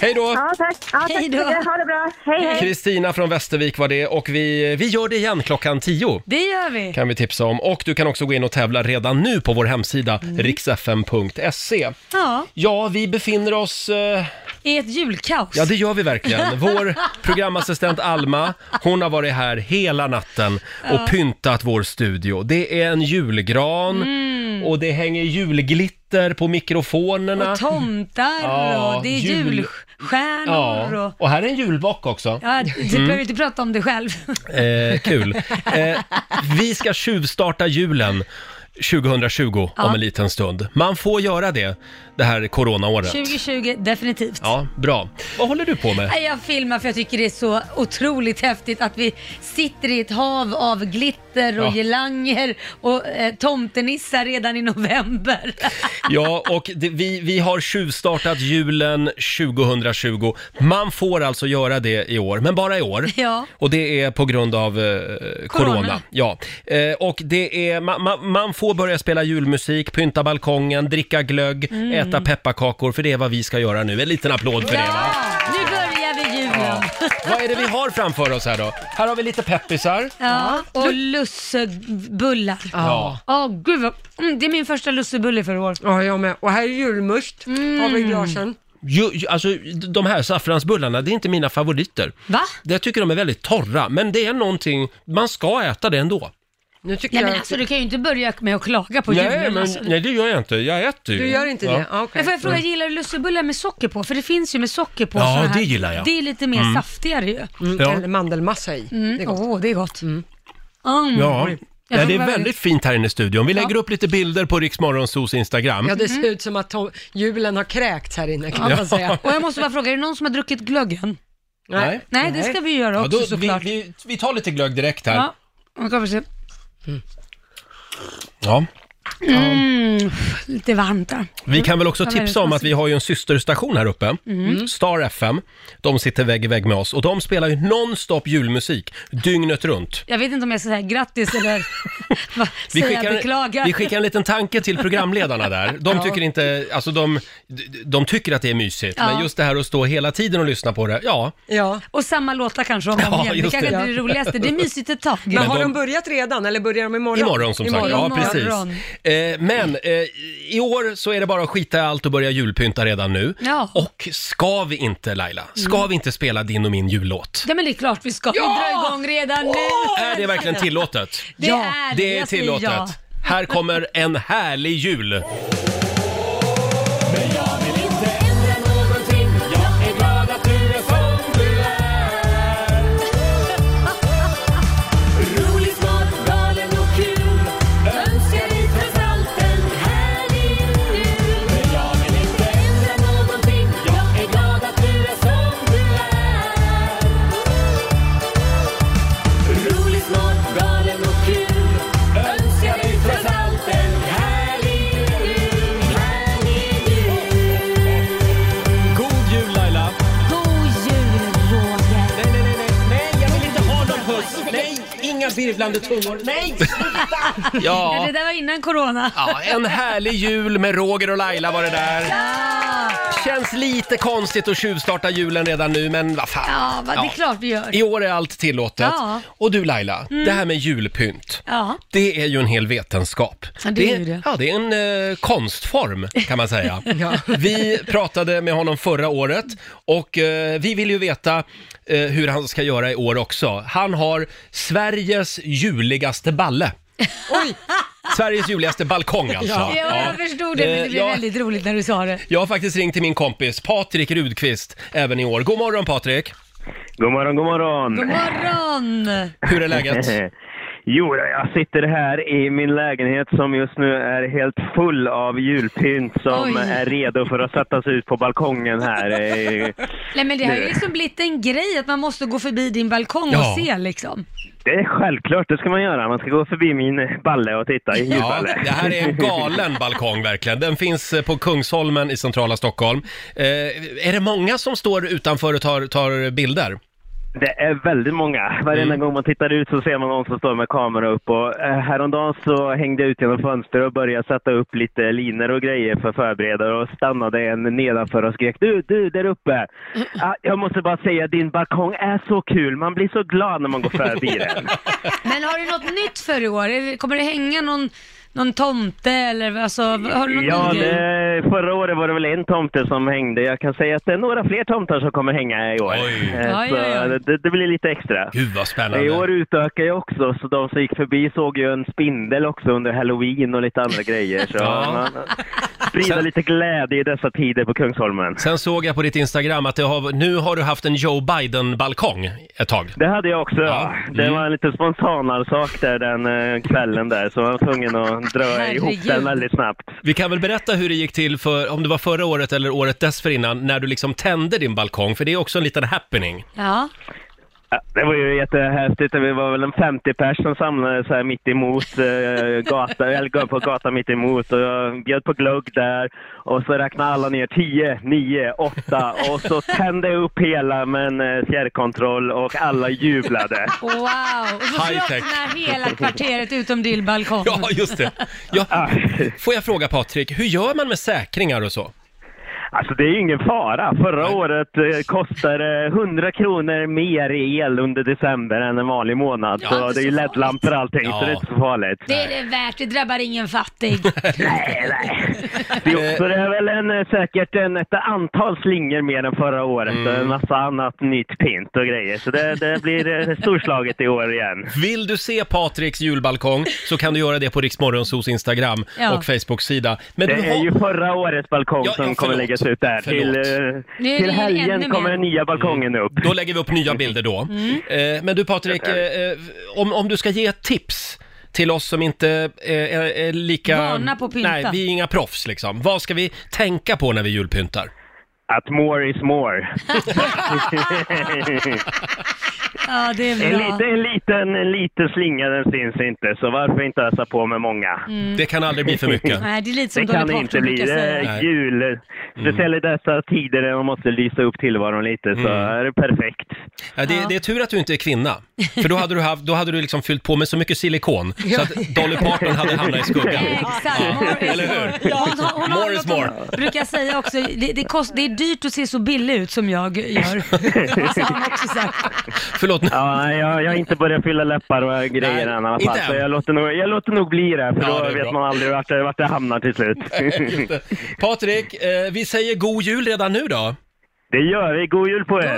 A: Hej då!
F: Ja, tack. Ja, tack så
D: Hej då.
F: mycket. Ha det bra. Hej, hej.
A: Kristina från Västervik var det och vi, vi gör det igen klockan 10
D: Det gör vi.
A: kan vi tipsa om. Och du kan också gå in och tävla redan nu på vår hemsida
D: Mm.
A: riksfm.se.
D: Ja,
A: Ja, vi befinner oss... eh,
D: i ett julkaos.
A: Ja, det gör vi
D: <laughs>
A: verkligen. Vår programassistent Alma, hon har varit här hela natten och pyntat vår studio. Det är en julgran och det hänger julglitter på mikrofonerna.
D: Mm. Och tomtar
A: Ja,
D: och det är
A: jul-
D: julstjärnor
A: Ja,
D: och...
A: och här är en julbock också. Mm.
D: Ja, du behöver inte prata om det själv.
A: Eh,
D: <laughs>
A: kul. Eh, vi ska tjuvstarta julen 2020 om en liten stund. Man får göra det det här coronaåret.
D: 2020, definitivt.
A: Ja, bra. Vad håller du på med?
D: Nej, Jag filmar för jag tycker det är så otroligt häftigt att vi sitter i ett hav av glitter och
A: Ja.
D: girlanger och eh, tomtenissar redan i november.
A: Ja, och det, vi, vi har tjuvstartat julen 2020. Man får alltså göra det i år, men bara i år.
D: Ja.
A: Och det är på grund av eh, corona.
D: Corona.
A: Ja. Eh, och det är, ma, ma, man får börja spela julmusik, pynta balkongen, dricka glögg, äta pepparkakor, för det är vad vi ska göra nu. En liten applåd för det va?
D: Nu börjar vi julen. Ja,
A: Vad är det vi har framför oss här då? Här har vi lite peppisar.
D: och lussebullar. Ja, gud vad... Mm, det är min första lussebulle för i år.
B: Ja, jag med. Och här är julmust.
D: Mm.
B: Har vi i glasen.
A: Ju, ju, alltså, de här saffransbullarna, det är inte mina favoriter.
D: Va?
A: Jag tycker de är väldigt torra, men det är någonting, man ska äta det ändå.
B: Nu tycker
D: Nej
B: jag
D: men alltså du kan ju inte börja med att klaga på
A: Nej,
D: julen.
A: men,
D: alltså.
A: nej, det gör jag inte. Jag äter ju.
B: Du gör inte
A: ja. Mm.
B: det? Ah, okej.
D: Men får jag fråga, gillar du lussebullar med socker på? För det finns ju med socker på.
A: Ja,
D: såna här.
A: det gillar jag.
D: Det är lite mer saftigare ju.
B: Mm,
A: Ja.
B: Eller mandelmassa i. Det är
D: Mm. Åh,
B: gott.
D: det är gott. Mm.
A: Ja. Ja, det
B: det
A: är
B: var
A: väldigt fint här inne i studion. Vi lägger upp lite bilder på Riksmorgonsos Instagram. Mm.
B: Ja, det
D: Mm.
B: ser ut som att to- julen har kräkts här inne kan man säga.
D: Och jag måste bara fråga, är det någon som har druckit glöggen?
A: Nej.
D: Nej, det ska vi göra
A: Ja,
D: också
A: då, vi,
D: såklart.
A: vi, vi tar lite glögg direkt här.
D: Ja,
A: Ja.
D: nu kommer vi se. Mm, lite varmt där.
A: Vi kan väl också
D: Ja, väldigt
A: tipsa om att vi har ju en systerstation här uppe,
D: Mm.
A: Star FM. De sitter vägg i vägg med oss och de spelar ju nonstop julmusik dygnet runt.
D: Jag vet inte om jag ska säga grattis eller vad-
A: Vi
D: säga
A: skickar,
D: beklagar.
A: vi skickar en liten tanke till programledarna
D: <laughs>
A: där. De
D: Ja.
A: tycker inte, alltså de, de tycker att det är mysigt,
D: Ja.
A: men just det här att stå hela tiden och lyssna på det, ja.
B: Ja.
D: Och samma låtar kanske om och om
A: Ja,
D: igen. Det
A: just
D: kanske
A: det.
D: inte är det roligaste. Det är mysigt ett tag.
A: Men har de- de
B: börjat redan eller börjar de
A: <laughs>
B: imorgon?
A: Imorgon som sagt, ja precis. Eh, men eh, i år så är det bara att skita i allt och börja julpynta redan nu.
D: Ja.
A: Och ska vi inte Laila, ska
D: Mm.
A: vi inte spela din och min jullåt?
D: Ja men det är klart vi ska.
K: Ja!
D: Vi drar igång redan nu.
A: Är det verkligen tillåtet?
D: Det Ja. är det.
A: Det är
D: Jag säger
A: tillåtet.
D: ja.
A: Här kommer en härlig jul. God jul Laila!
D: God jul Roger!
A: Nej, nej, nej, nej, nej, jag vill inte ha någon puss! Nej, inga virvlande tungor, nej!
D: Ja.
A: Ja.
D: det där var innan corona.
A: Ja, en härlig jul med Roger och Laila var det där. Känns lite konstigt att tjuvstarta julen redan nu, men vad fan.
D: Ja, va, det är
A: Ja.
D: klart vi gör.
A: I år är allt tillåtet.
D: Ja.
A: Och du Laila,
D: Mm.
A: det här med julpynt.
D: Ja.
A: Det är ju en hel vetenskap.
D: Ja, det är ju det.
A: Ja, det är en eh, konstform kan man
D: <laughs>
A: säga. Vi pratade med honom förra året och eh, vi vill ju veta eh, hur han ska göra i år också. Han har Sveriges juligaste balle. Sveriges juligaste balkong alltså.
D: Ja, jag förstod det, men det
A: Eh,
D: blev
A: ja.
D: väldigt roligt när du sa det.
A: Jag har faktiskt ringt till min kompis Patrik Rudqvist även i år. God morgon Patrik!
L: God morgon, god morgon.
D: God morgon!
A: Hur är läget?
L: <laughs> Jo, jag sitter här i min lägenhet som just nu är helt full av julpynt som
D: Oj.
L: är redo för att sättas ut på balkongen här. Eh,
D: Nej men det har ju liksom blivit en grej att man måste gå förbi din balkong
L: Ja.
D: och se liksom.
L: Det är självklart, det ska man göra. Man ska gå förbi min balle och titta i
A: Ja,
L: julballe.
A: det här är
L: <laughs>
A: en galen balkong verkligen. Den finns eh, på Kungsholmen i centrala Stockholm. Eh, är det många som står utanför och tar, tar bilder?
L: Det är väldigt många. Varenda
D: Mm.
L: gång man tittar ut så ser man någon som står med kamera upp. Och eh, häromdagen så hängde jag ut genom fönstret och började sätta upp lite linor och grejer för förberedare och stannade en nedanför och skrek du, du där
D: <laughs>
L: uppe! Ah, jag måste bara säga din balkong är så kul. Man blir så glad när man går
D: <laughs>
L: förbi den.
D: Men har du något nytt för i år? Är det- Kommer det hänga någon, någon tomte eller alltså, har du någon
L: Ja,
D: ny grej?
L: det, förra året var det väl en tomte som hängde. Jag kan säga att det är några fler tomtar som kommer hänga i år. Eh,
D: Oj,
L: Så
D: oj, oj.
L: Det, det blir lite extra.
A: Gud vad spännande.
L: I år utökar jag också, så de som gick förbi såg ju en spindel också under halloween och lite andra grejer. Så
A: Ja.
L: man sprider lite glädje i dessa tider på Kungsholmen.
A: Sen såg jag på ditt Instagram att det har, nu har du haft en Joe Biden-balkong ett tag.
L: Det hade jag också. Ja. Det var en lite spontanare sak där den eh, kvällen där, så jag var tvungen att dra ihop
A: Herregud.
L: den väldigt snabbt.
A: Vi kan väl berätta hur det gick till, för, om det var förra året eller året dessförinnan, när du liksom tände din balkong, för det är också en liten happening.
D: Ja.
L: Ja, Det var ju jättehäftigt. Vi var väl en 50 pers som samlades här mitt emot eh, gatan, eller gå på gatan mitt emot och jag bjöd på glögg där och så räknade alla ner 10, 9, 8 och så tände jag upp hela med en eh, fjärrkontroll och alla jublade.
D: Wow! Och så
L: High tech.
D: slocknar hela kvarteret utom din balkong.
A: Ja, just det. Ja. Får jag fråga Patrik, hur gör man med säkringar och så?
L: Alltså det är ju ingen fara. Förra året eh, kostade det 100 kronor mer i el under december än en vanlig månad.
D: Ja,
L: så
D: inte
L: det är ju
D: så
L: LED-lampor och allting så det är inte så farligt.
D: Det är det värt, det drabbar
A: <laughs>
D: ingen fattig.
L: Det är också, det är väl en, eh, säkert en, ett antal slingor mer än förra året
A: Mm.
L: och en massa annat nytt pint och grejer. Så det, det blir eh, storslaget i år igen.
A: Vill du se Patriks julbalkong så kan du göra det på Riksmorgonsos Instagram
L: Ja.
A: och Facebook-sida. Men
L: det
A: du
L: är
A: har...
L: ju förra årets balkong
A: Ja, ja,
L: som kommer
A: förlåt.
L: läggas ut där. Till,
A: Förlåt.
L: eh,
A: Nu
L: till
A: är det ju ännu
L: helgen
A: mer. Mm.
L: kommer den nya balkongen upp.
A: Då lägger vi upp nya bilder då. Eh, Men du Patrik, eh, eh, om, om du ska ge ett tips till oss som inte eh, är, är lika...
D: Vana på att pynta.
A: Nej, vi är inga proffs liksom. Vad ska vi tänka på när vi julpyntar?
L: Att more is
A: <laughs>
L: more.
D: Ja, det är
L: en,
D: bra.
L: liten, en, liten, en liten slinga den syns inte, så varför inte ösa på med många?
D: Mm.
A: Det kan aldrig bli för mycket.
D: <laughs>
A: Mm.
D: Nej, det är lite som
L: det
D: Dolly
L: kan
D: Parton
L: inte bli.
D: brukar
L: Det
D: säga.
L: är jul. Speciellt i dessa tider där man måste lysa upp tillvaron lite, så
A: Mm.
L: är det perfekt.
A: Ja, det,
D: Ja.
A: det är tur att du inte är kvinna, för då hade du, haft, då hade du liksom fyllt på med så mycket
D: <laughs>
A: silikon så att Dolly Parton hade hamnat i skuggan.
D: Exakt, more is
A: eller
D: more.
A: hur?
D: Hon, har- hon har
A: More
D: något
A: is more.
D: hon brukar säga också, det, det, kost, det är dyrt att se så billig ut som
A: <laughs>
D: jag gör. Så har hon också sagt.
A: Förlåt.
L: Ja, jag, jag har inte börjat fylla läppar och grejer än i alla
A: inte
L: fall. Så
A: än.
L: jag låter, nog, jag låter nog bli det, för
A: Ja,
L: då
A: det är
L: vet
A: bra.
L: man aldrig vart det, vart det hamnar till slut.
A: <laughs> Just det. Patrik, eh, vi säger god jul redan nu då.
L: det gör vi. God jul på er!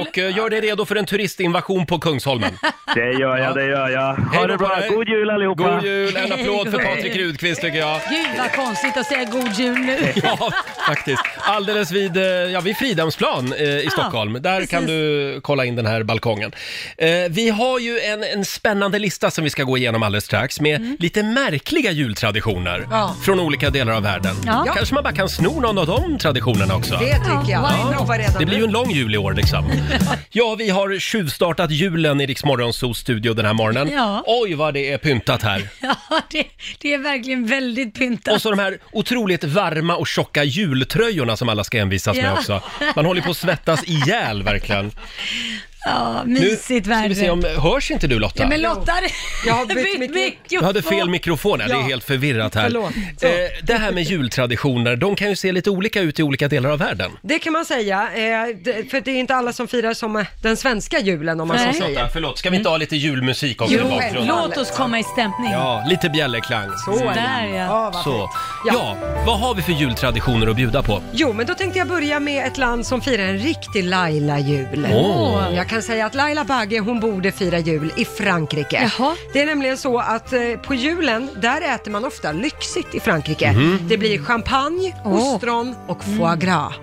A: Och eh, gör dig redo för en turistinvasion på Kungsholmen.
L: <laughs> Det gör jag, det gör jag. Ha
A: Hej då
L: det
A: på
L: bra.
A: dig.
L: God jul allihopa!
A: God jul! En
D: <laughs>
A: applåd för
D: Hej.
A: Patrik Rudqvist tycker jag.
D: Gud vad konstigt att säga god jul nu.
A: Ja, faktiskt. Alldeles vid, eh, ja, vid Fridhemsplan eh,
B: Ah,
A: i Stockholm. Där kan du kolla in den här balkongen. Eh, vi har ju en, en spännande lista som vi ska gå igenom alldeles strax med lite märkliga jultraditioner
B: Mm. Ja.
A: från olika delar av världen.
B: Ja.
A: Kanske man bara kan sno någon av de traditionerna också.
B: Det tycker jag.
A: Ja.
B: Vi provar redan
A: Det blir ju
B: nu.
A: en lång jul i år liksom.
B: <laughs>
A: Ja, vi har tjuvstartat julen i Rix Morgonzoos studio den här morgonen.
D: Ja.
A: Oj, vad det är pyntat här.
D: Ja, det, det är verkligen väldigt pyntat.
A: Och så de här otroligt varma och tjocka jultröjorna som alla ska envisas med
D: Ja.
A: också. Man håller på att svettas ihjäl verkligen.
D: Ja, mysigt
A: nu ska vi se
D: värre.
A: om, hörs inte du Lotta?
D: Ja, men Lotta,
B: Jag har bytt mikrofon.
A: Du hade fel mikrofon, här. det är
B: Ja.
A: helt förvirrat här.
B: Förlåt. Så.
A: Eh, det här med jultraditioner, de kan ju se lite olika ut i olika delar av världen.
B: Det kan man säga, eh, d- för det är inte alla som firar som eh, den svenska julen om man så
D: Nej.
B: säger.
A: Lotta, förlåt, ska vi inte ha lite julmusik också
B: Jo,
A: i bakgrunden?
D: Låt oss komma i stämning.
A: Ja, lite bjällerklang. Mm.
B: Så är det.
D: Där ja.
B: Ja, vad
A: Så.
B: fint.
A: Ja. vad har vi för jultraditioner att bjuda på?
B: Jo, men då tänkte jag börja med ett land som firar en riktig Laila-jul. Mm.
A: Åh.
B: Jag kan säga att Laila Bagge, hon borde fira jul i Frankrike.
D: Jaha.
B: Det är nämligen så att eh, på julen, där äter man ofta lyxigt i Frankrike. Det blir champagne,
D: Åh.
B: ostron Mm. och foie gras.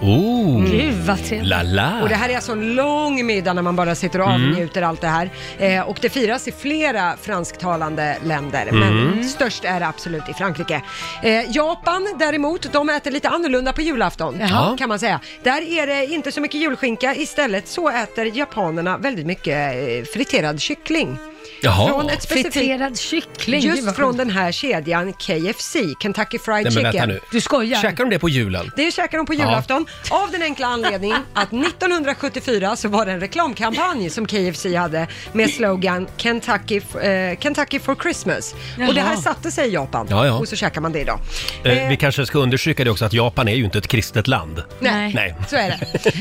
A: Oh,
D: Gud vad trevligt.
A: la la. Mm.
B: Och det här är alltså en lång middag när man bara sitter och avnjuter allt det här. Eh, och det firas i flera fransktalande länder,
A: Mm.
B: men störst är det absolut i Frankrike. Eh, Japan däremot, de äter lite annorlunda på julafton,
A: Jaha.
B: kan man säga. Där är det inte så mycket julskinka, istället så äter japanerna väldigt mycket eh, friterad kyckling.
A: Jaha.
B: Från ett specifikt...
D: Friterad kyckling. Gud,
B: Just
D: vad
B: från
D: sjukt.
B: den här kedjan KFC, Kentucky Fried
A: Nej men vänta
B: Chicken.
A: nu.
D: Du skojar?
A: Käkar de det på julen?
B: Det käkar de på
A: Ja.
B: julafton av den enkla anledningen att 1974 så var det en reklamkampanj som KFC hade med slogan Kentucky, eh, Kentucky for Christmas. Och det här
D: Jaha.
B: satte sig i Japan
A: Ja, ja.
B: och så käkar man det idag.
A: Eh, vi kanske ska undersöka det också att Japan är ju inte ett kristet land.
D: Nej.
A: Nej.
B: Så är
A: <laughs>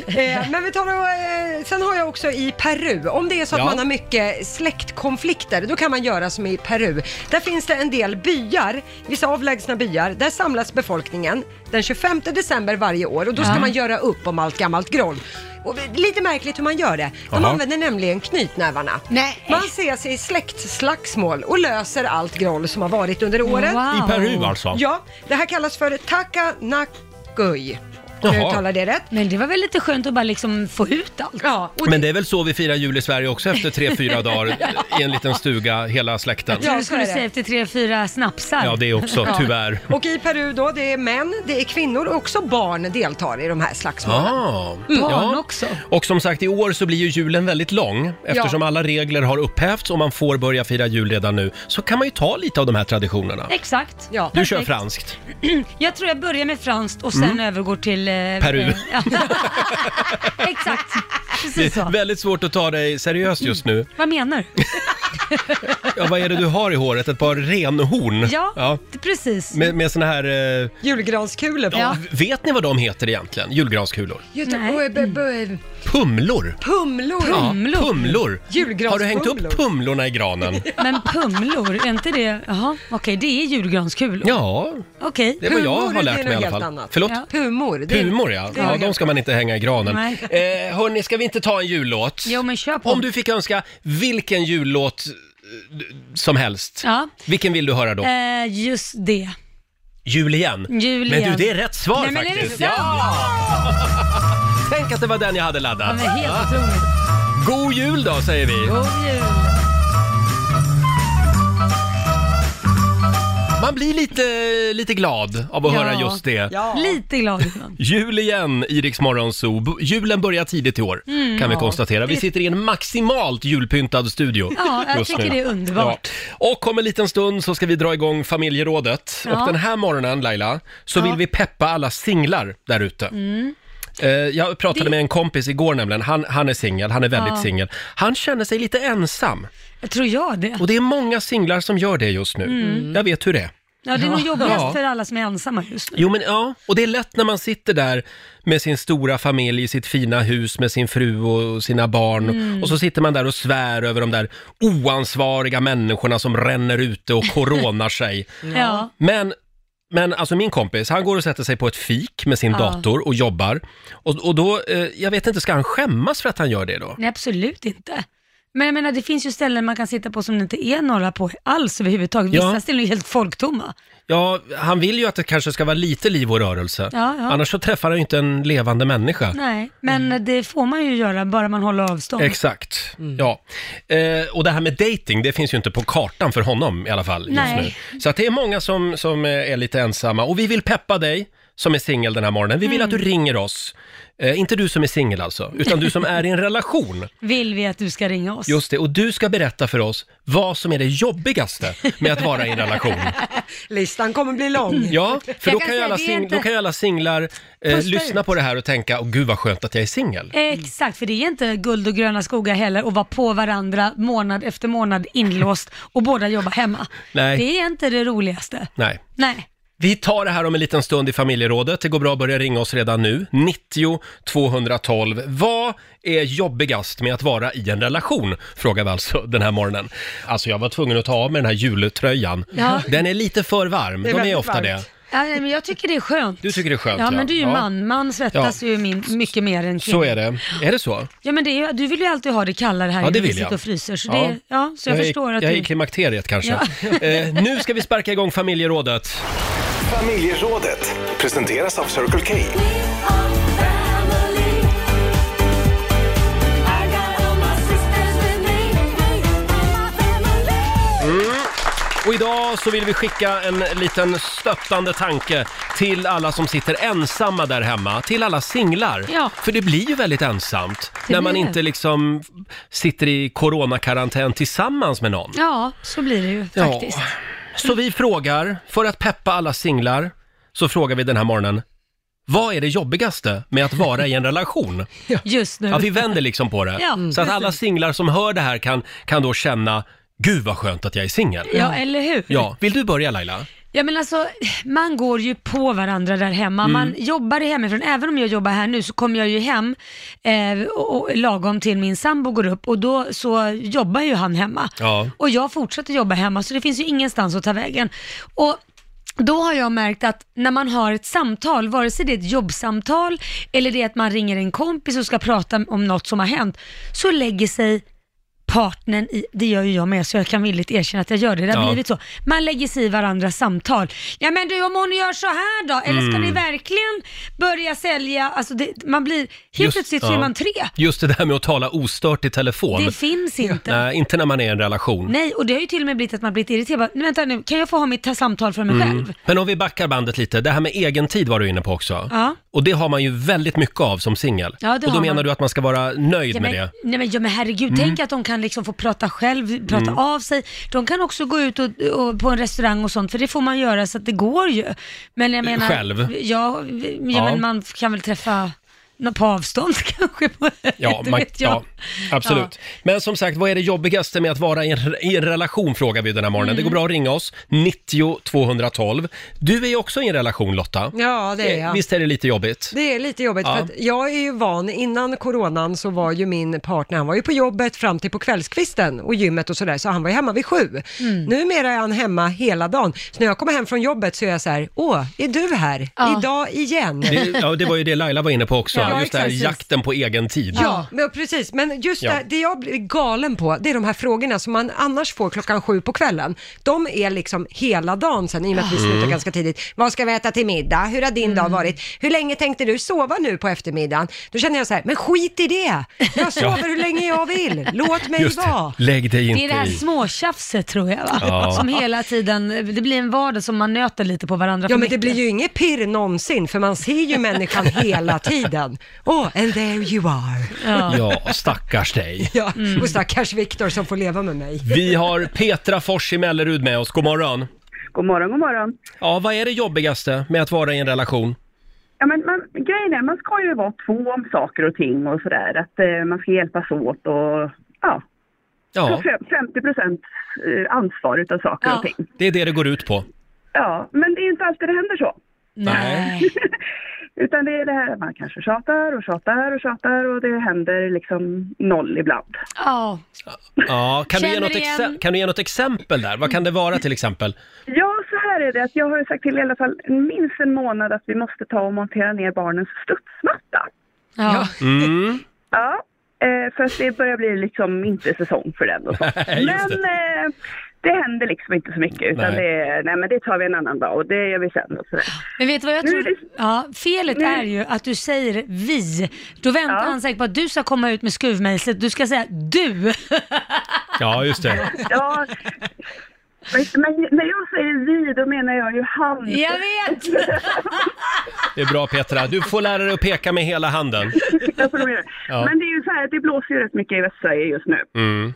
B: det. Eh, men vi tar och, eh, sen har jag också i Peru, om det är så att
A: Ja.
B: man har mycket släktkonflikter, då kan man göra som i Peru. Där finns det en del byar, vissa avlägsna byar, där samlas befolkningen den 25 december varje år och då ska
D: Ja.
B: man göra upp om allt gammalt groll. Och det är lite märkligt hur man gör det. De
A: Jaha.
B: använder nämligen knytnävarna.
D: Nej.
B: Man ses i släktslagsmål och löser allt groll som har varit under året.
A: I Peru alltså?
B: Ja, det här kallas för Takanakui. Om
A: Jaha.
B: jag uttalar det rätt.
D: Men det var väl lite skönt att bara liksom få ut allt?
B: Ja, och
A: Men det är väl så vi firar jul i Sverige också efter tre, fyra dagar i en liten stuga, hela släkten.
D: Jag trodde
B: Ja, så är
D: du skulle
B: det.
D: säga efter tre, fyra snapsar.
A: Ja, det också, tyvärr.
B: <laughs> Och i Peru då, det är män, det är kvinnor och också barn deltar i de här slagsmålen.
A: Ah,
D: Barn
B: Mm.
D: också.
A: Och som sagt, i år så blir ju julen väldigt lång. Eftersom alla regler har upphävts och man får börja fira jul redan nu så kan man ju ta lite av de här traditionerna.
D: Exakt.
B: Ja.
A: Du kör
D: Perfekt.
A: franskt.
D: <clears throat> Jag tror jag börjar med franskt och sen övergår till... Eh,
A: Peru.
D: eh, ja. <laughs> Exakt. Precis
A: Det är
D: så.
A: väldigt svårt att ta dig seriöst just nu.
D: Vad menar du?
A: Ja, vad är det du har i håret? Ett par renhorn?
D: Ja, det- precis.
A: Med, med såna här... Eh,
B: Julgranskulor på.
D: Ja.
A: Vet ni vad de heter egentligen? Julgranskulor?
B: Göte-
D: Nej.
B: och, eh, b- b-
A: Pumlor!
B: Pumlor.
A: Ja,
D: Pumlor.
A: pumlor.
B: Julgranspumlor.
A: Har du hängt upp pumlorna i granen?
D: <laughs> Men pumlor, är inte det... Jaha, okej, det är julgranskulor.
A: Ja,
D: Okej.
A: det är vad jag har
B: Pumor, det är
A: lärt mig i
B: något
A: alla fall.
B: helt annat.
A: Förlåt?
D: Ja.
B: Pumor. Det är-
A: Pumor ja,
B: det är
A: ja
B: något
A: de ska man inte hänga i granen.
D: Nej.
A: Eh, hörni, ska vi inte ta en jullåt?
D: Jo, men kör på.
A: Om du fick önska vilken jullåt eh, som helst,
D: Ja.
A: vilken vill du höra då?
D: Eh, just det.
A: Jul igen?
D: Jul
A: men
D: igen.
A: du, det är rätt svar
D: Nej, men är det
A: faktiskt.
D: sant?
A: Tänk att det var den jag hade
D: Ja,
A: laddat.
D: men helt otroligt.
A: God jul då, säger vi.
D: God jul.
A: Man blir lite, lite glad av att höra just det.
D: Lite glad.
A: Jul igen i Rix Morgon Zoo. B- Julen börjar tidigt i år,
D: Mm.
A: kan vi
D: Ja.
A: konstatera. Vi
D: Det-
A: sitter i en maximalt julpyntad studio
D: Ja, jag
A: just
D: tycker
A: nu.
D: det är underbart.
A: Ja. Och om en liten stund så ska vi dra igång familjerådet.
D: Ja.
A: Och den här morgonen, Laila, så
D: Ja.
A: vill vi peppa alla singlar där ute.
D: Mm.
A: Eh, Jag pratade
D: Det-
A: med en kompis igår nämligen, han, han är singel, han är väldigt
D: Ja.
A: singel. Han känner sig lite ensam.
D: Jag tror jag det.
A: Och det är många singlar som gör det just nu.
D: Mm.
A: Jag vet hur det är.
D: Ja, det är nog jobbigast
A: Ja.
D: för alla som är ensamma just nu.
A: Jo men ja, och det är lätt när man sitter där med sin stora familj i sitt fina hus med sin fru och sina barn
D: Mm.
A: och så sitter man där och svär över de där oansvariga människorna som ränner ute och coronar sig.
D: <laughs> Ja.
A: Men, men alltså min kompis, han går och sätter sig på ett fik med sin
D: Ja.
A: dator och jobbar. Och, och då, eh, jag vet inte, ska han skämmas för att han gör det då?
D: Nej, absolut inte. Men jag menar, det finns ju ställen man kan sitta på som det inte är några på alls överhuvudtaget. Vissa
A: Ja.
D: ställen är ju helt folktomma.
A: Ja, han vill ju att det kanske ska vara lite liv och rörelse.
D: Ja, ja.
A: Annars så träffar han ju inte en levande människa.
D: Nej, men det får man ju göra bara man håller avstånd.
A: Mm. Exakt,
B: Mm.
A: ja. Eh, och det här med dating, det finns ju inte på kartan för honom i alla fall
D: Nej.
A: just nu. Så att det är många som, som eh, är lite ensamma och vi vill peppa dig som är singel den här morgonen.
B: Mm.
A: Vi vill att du ringer oss. Eh, inte du som är singel alltså, utan du som är i en
B: <laughs>
A: relation.
D: Vill vi att du ska ringa oss?
A: Just det, och du ska berätta för oss vad som är det jobbigaste med att vara i en relation.
B: <laughs> Listan kommer bli lång.
A: Ja, för då kan,
B: Jag kan
A: ju
B: säga,
A: alla
B: det är
A: sing-
B: inte-
A: då kan ju alla singlar eh,
D: Pusta
A: lyssna
D: ut.
A: på det här och tänka, åh gud vad skönt att jag är singel.
D: Exakt, för det är inte guld och gröna skogar heller att vara på varandra månad efter månad inlåst och båda jobba hemma.
A: Nej.
D: Det är inte det roligaste.
A: Nej.
D: Nej.
A: Vi tar det här om en liten stund i familjerådet. Det går bra att börja ringa oss redan nu. 90 212. Vad är jobbigast med att vara i en relation? Frågar vi alltså den här morgonen. Alltså jag var tvungen att ta av mig den här jultröjan.
D: Ja.
A: Den är lite för varm.
D: Det är
A: De är
D: väldigt
A: ofta
D: varmt.
A: det.
D: Ja, nej, men jag tycker det är skönt.
A: Du tycker det är skönt
D: ja, men du är ju
A: ja.
D: man. Man svettas ju min, mycket mer än kvinnor.
A: Så är det. Är det så?
D: Ja, men det är, ju- du vill ju alltid ha det kallare här
A: Ja, det
D: inne, vi
A: vill jag.
D: sitter och fryser. Så, ja. Det, ja, så jag,
A: är i-
D: förstår att
A: Jag är
D: du...
A: i klimakteriet kanske.
D: Ja.
A: eh, nu ska vi sparka igång familjerådet.
I: Familjerådet presenteras av Circle K.
A: Mm. Och idag så vill vi skicka en liten stöttande tanke till alla som sitter ensamma där hemma, till alla singlar.
D: Ja.
A: För det blir ju väldigt ensamt
D: Det
A: när man
D: blir det.
A: inte liksom sitter i coronakarantän tillsammans med någon.
D: Ja, så blir det ju faktiskt.
A: Så vi frågar, för att peppa alla singlar, så frågar vi den här morgonen, vad är det jobbigaste med att vara i en
D: <laughs>
A: relation?
D: Just nu.
A: Ja, vi vänder liksom på det.
D: Ja,
A: så att alla
D: precis.
A: singlar som hör det här kan, kan då känna, gud vad skönt att jag är singel.
D: Ja, eller hur?
A: Ja, vill du börja Laila?
D: Ja men alltså, man går ju på varandra där hemma.
A: Mm.
D: Man jobbar hemifrån. Även om jag jobbar här nu så kommer jag ju hem eh, och, och, lagom till min sambo går upp och då så jobbar ju han hemma.
A: Ja.
D: Och jag fortsätter jobba hemma så det finns ju ingenstans att ta vägen. Och då har jag märkt att när man har ett samtal, vare sig det är ett jobbsamtal eller det är att man ringer en kompis och ska prata om något som har hänt, så lägger sig partnern i, det gör ju jag med så jag kan villigt erkänna att jag gör det, det har
K: Ja.
D: blivit så. Man lägger sig i varandras samtal. Ja men du om hon gör så här då, eller ska
A: Mm.
D: ni verkligen börja sälja, alltså det, man blir, helt plötsligt så är
A: ja.
D: man tre.
A: Just det där med att tala ostört i telefon.
D: Det finns inte.
A: Nej, inte när man är i en relation.
D: Nej, och det har ju till och med blivit att man blivit irriterad. Bara, "Nej, vänta nu, kan jag få ha mitt samtal för mig
A: Mm.
D: själv?
A: Men om vi backar bandet lite, det här med egen tid var du inne på också.
D: Ja.
A: Och det har man ju väldigt mycket av som singel.
D: Ja, det
A: och då
D: har
A: menar
D: man.
A: du att man ska vara nöjd
D: Ja, men,
A: med det?
D: Nej men, ja, men herregud,
A: Mm.
D: tänk att de kan liksom få prata själv, prata
A: Mm.
D: av sig. De kan också gå ut och, och, på en restaurang och sånt, för det får man göra så att det går ju. Men jag menar...
A: Eh, Själv?
D: Ja, ja,
A: Ja.
D: men man kan väl träffa någon på avstånd kanske. På,
A: Ja,
D: det
A: man,
D: vet jag.
A: ja, absolut. Men som sagt, vad är det jobbigaste med att vara i en, i en relation frågar vi den här morgonen.
B: Mm.
A: Det går bra att ringa oss, 90 212. Du är ju också i en relation Lotta.
B: Ja, det är
A: Eh,
B: jag.
A: Visst är det lite jobbigt?
B: Det är lite jobbigt
A: Ja.
B: för att jag är ju van, innan coronan så var ju min partner, han var ju på jobbet fram till på kvällskvisten och gymmet och sådär, så han var ju hemma vid sju. Numera är han hemma hela dagen, så när jag kommer hem från jobbet så är jag så här, åh, är du här? Idag igen?
A: Det, ja, det var ju det Laila var inne på också. ja, just det här,
B: exakt.
A: jakten på egen tid.
B: Ja, men precis. Men just
A: Ja.
B: det, det jag blir galen på, det är de här frågorna som man annars får klockan sju på kvällen. De är liksom hela dagen sen, i och med att vi
K: Ja.
B: slutar
K: Mm.
B: ganska tidigt. Vad ska vi äta till middag? Hur har din
A: Mm.
B: dag varit? Hur länge tänkte du sova nu på eftermiddagen? Då känner jag så här, men skit i det!
A: <laughs>
B: Jag sover hur länge jag vill. Låt mig
A: Just det.
B: vara.
A: Lägg dig inte
D: det är det här
A: i.
D: småtjafset tror jag va?
A: Ja.
D: Som hela tiden, det blir en vardag som man nöter lite på varandra
B: Ja,
D: för
B: men det
D: mycket.
B: blir ju inget pirr någonsin, för man ser ju människan hela tiden. Oh, and there you are.
A: Ja, stackars dig.
B: <laughs> Ja, och stackars Viktor som får leva med mig.
A: Vi har Petra Fors i Mellerud med oss. God morgon.
M: God morgon, god morgon.
A: Ja, vad är det jobbigaste med att vara i en relation?
M: Ja, men man, grejen är, man ska ju vara två om saker och ting och sådär. Att eh, man ska hjälpas åt och ja.
A: Ja,
M: Så fem- 50 procent eh, ansvar utav saker och ting.
A: det är det det går ut på.
M: Ja, men det är ju inte alltid det händer så.
A: Nej.
M: <laughs> Utan det är det här, man kanske tjatar och tjatar och tjatar och det händer liksom noll ibland.
D: Ja.
A: Ja, kan, du ge
M: Känner
A: något
M: igen.
A: exem- kan du ge något exempel där? Vad kan det vara till exempel?
M: Ja, så här är det att jag har ju sagt till i alla fall minst en månad att vi måste ta och montera ner barnens studsmatta.
D: Ja.
A: Mm.
M: Ja, eh, för att det börjar bli liksom inte säsong för den och så.
A: Nej, <laughs> just
M: men eh, det händer liksom inte så mycket utan
D: Nej.
M: det, är, nej, men det tar vi en annan dag och det gör vi sen och sådär.
D: Men vet du vad jag tror? Ja, felet
M: Nej.
D: är ju att du säger vi. Då väntar han säkert på att du ska komma ut med skruvmejslet. Du ska säga du. <laughs>
A: Ja, just det.
M: Ja, men- men när jag säger vi, då menar jag ju han.
D: Jag vet!
A: Det är bra Petra. Du får lära dig att peka med hela handen.
M: <laughs> Jag får nog göra det.
A: Ja.
M: Men det är ju så här att det blåser ju rätt mycket i Västsverige just nu.
A: Mm.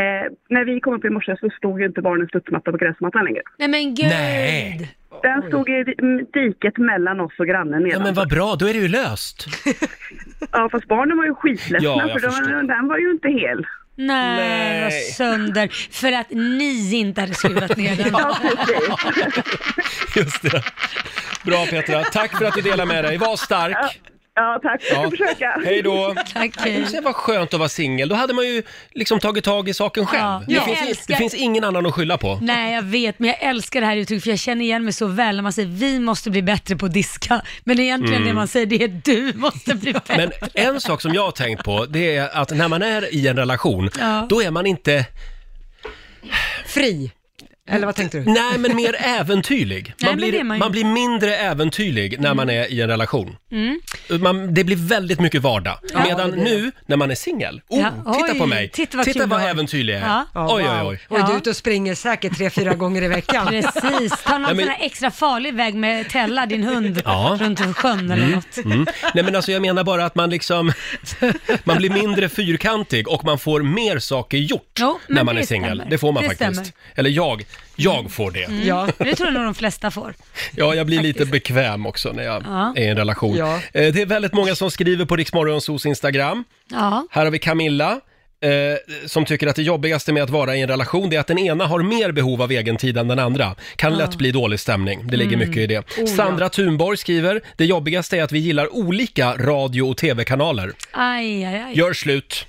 M: Eh, när vi kom upp i morse så stod ju inte barnens studsmatta på gräsmattan längre.
D: Nej men gud.
A: Nej.
M: Den stod i mm, diket mellan oss och grannen
A: Ja,
M: nedan.
A: men vad bra, då är det ju löst.
M: Ja, fast barnen var ju skitledsna
A: Ja, jag
M: för
A: förstår.
M: de, den var ju inte hel.
D: Nej,
M: Nej.
D: vad sönder. För att ni inte hade skruvat ner den.
A: Just det. Bra Petra, tack för att du delar med dig. Var stark.
M: Ja, tack. Jag ska försöka.
A: Hej då.
D: Tack.
A: Det var skönt att vara singel. Då hade man ju liksom tagit tag i saken själv.
D: jag
A: det, finns,
D: älskar-
A: det finns ingen annan att skylla på.
D: Nej, jag vet, men jag älskar det här uttrycket för jag känner igen mig så väl när man säger vi måste bli bättre på att diska. Men egentligen
A: Mm.
D: det man säger det är du måste bli bättre.
A: <laughs> Men en sak som jag har tänkt på, det är att när man är i en relation,
D: Ja.
A: då är man inte...
B: Fri? Eller vad tänkte du?
A: Nej, men mer äventyrlig.
D: Nej, men
A: Man,
D: det är
A: blir,
D: man
A: man,
D: ju.
A: blir mindre äventyrlig när man är i en relation.
D: Mm.
A: Man, det blir väldigt mycket vardag.
D: Ja,
A: Medan
D: det blir det.
A: nu, när man är singel, oh,
B: Ja,
A: titta
B: oj,
A: på mig!
B: titta vad kul du har.
A: äventyrlig jag är! Oj, oj, oj.
B: Och du är ute och springer säkert tre, fyra gånger i veckan.
D: <laughs> Precis, ta någon
A: Nej, men-
D: sån här extra farlig väg med Tella, din hund,
A: Ja.
D: runt sjön eller
A: Mm,
D: något.
A: mm. Nej men alltså jag menar bara att man liksom, <laughs> man blir mindre fyrkantig och man får mer saker gjort
D: Jo, men
A: när man
D: det
A: är singel.
D: stämmer.
A: Det får man
D: Det
A: faktiskt.
D: stämmer.
A: Eller jag, jag får det.
D: Mm. Det tror jag nog de flesta får.
A: Ja, jag blir lite bekväm också när jag
D: Ja.
A: är i en relation.
D: Ja.
A: Eh, Det är väldigt många som skriver på Riksmorgonsos Instagram.
D: Ja.
A: Här har vi Camilla. Eh, som tycker att det jobbigaste med att vara i en relation det är att den ena har mer behov av egen tid än den andra. Kan lätt bli dålig stämning. Det ligger
D: Mm.
A: mycket i det.
D: ja.
A: Sandra Thunborg skriver, det jobbigaste är att vi gillar olika radio och tv-kanaler.
D: Aj, aj, aj.
A: Gör slut.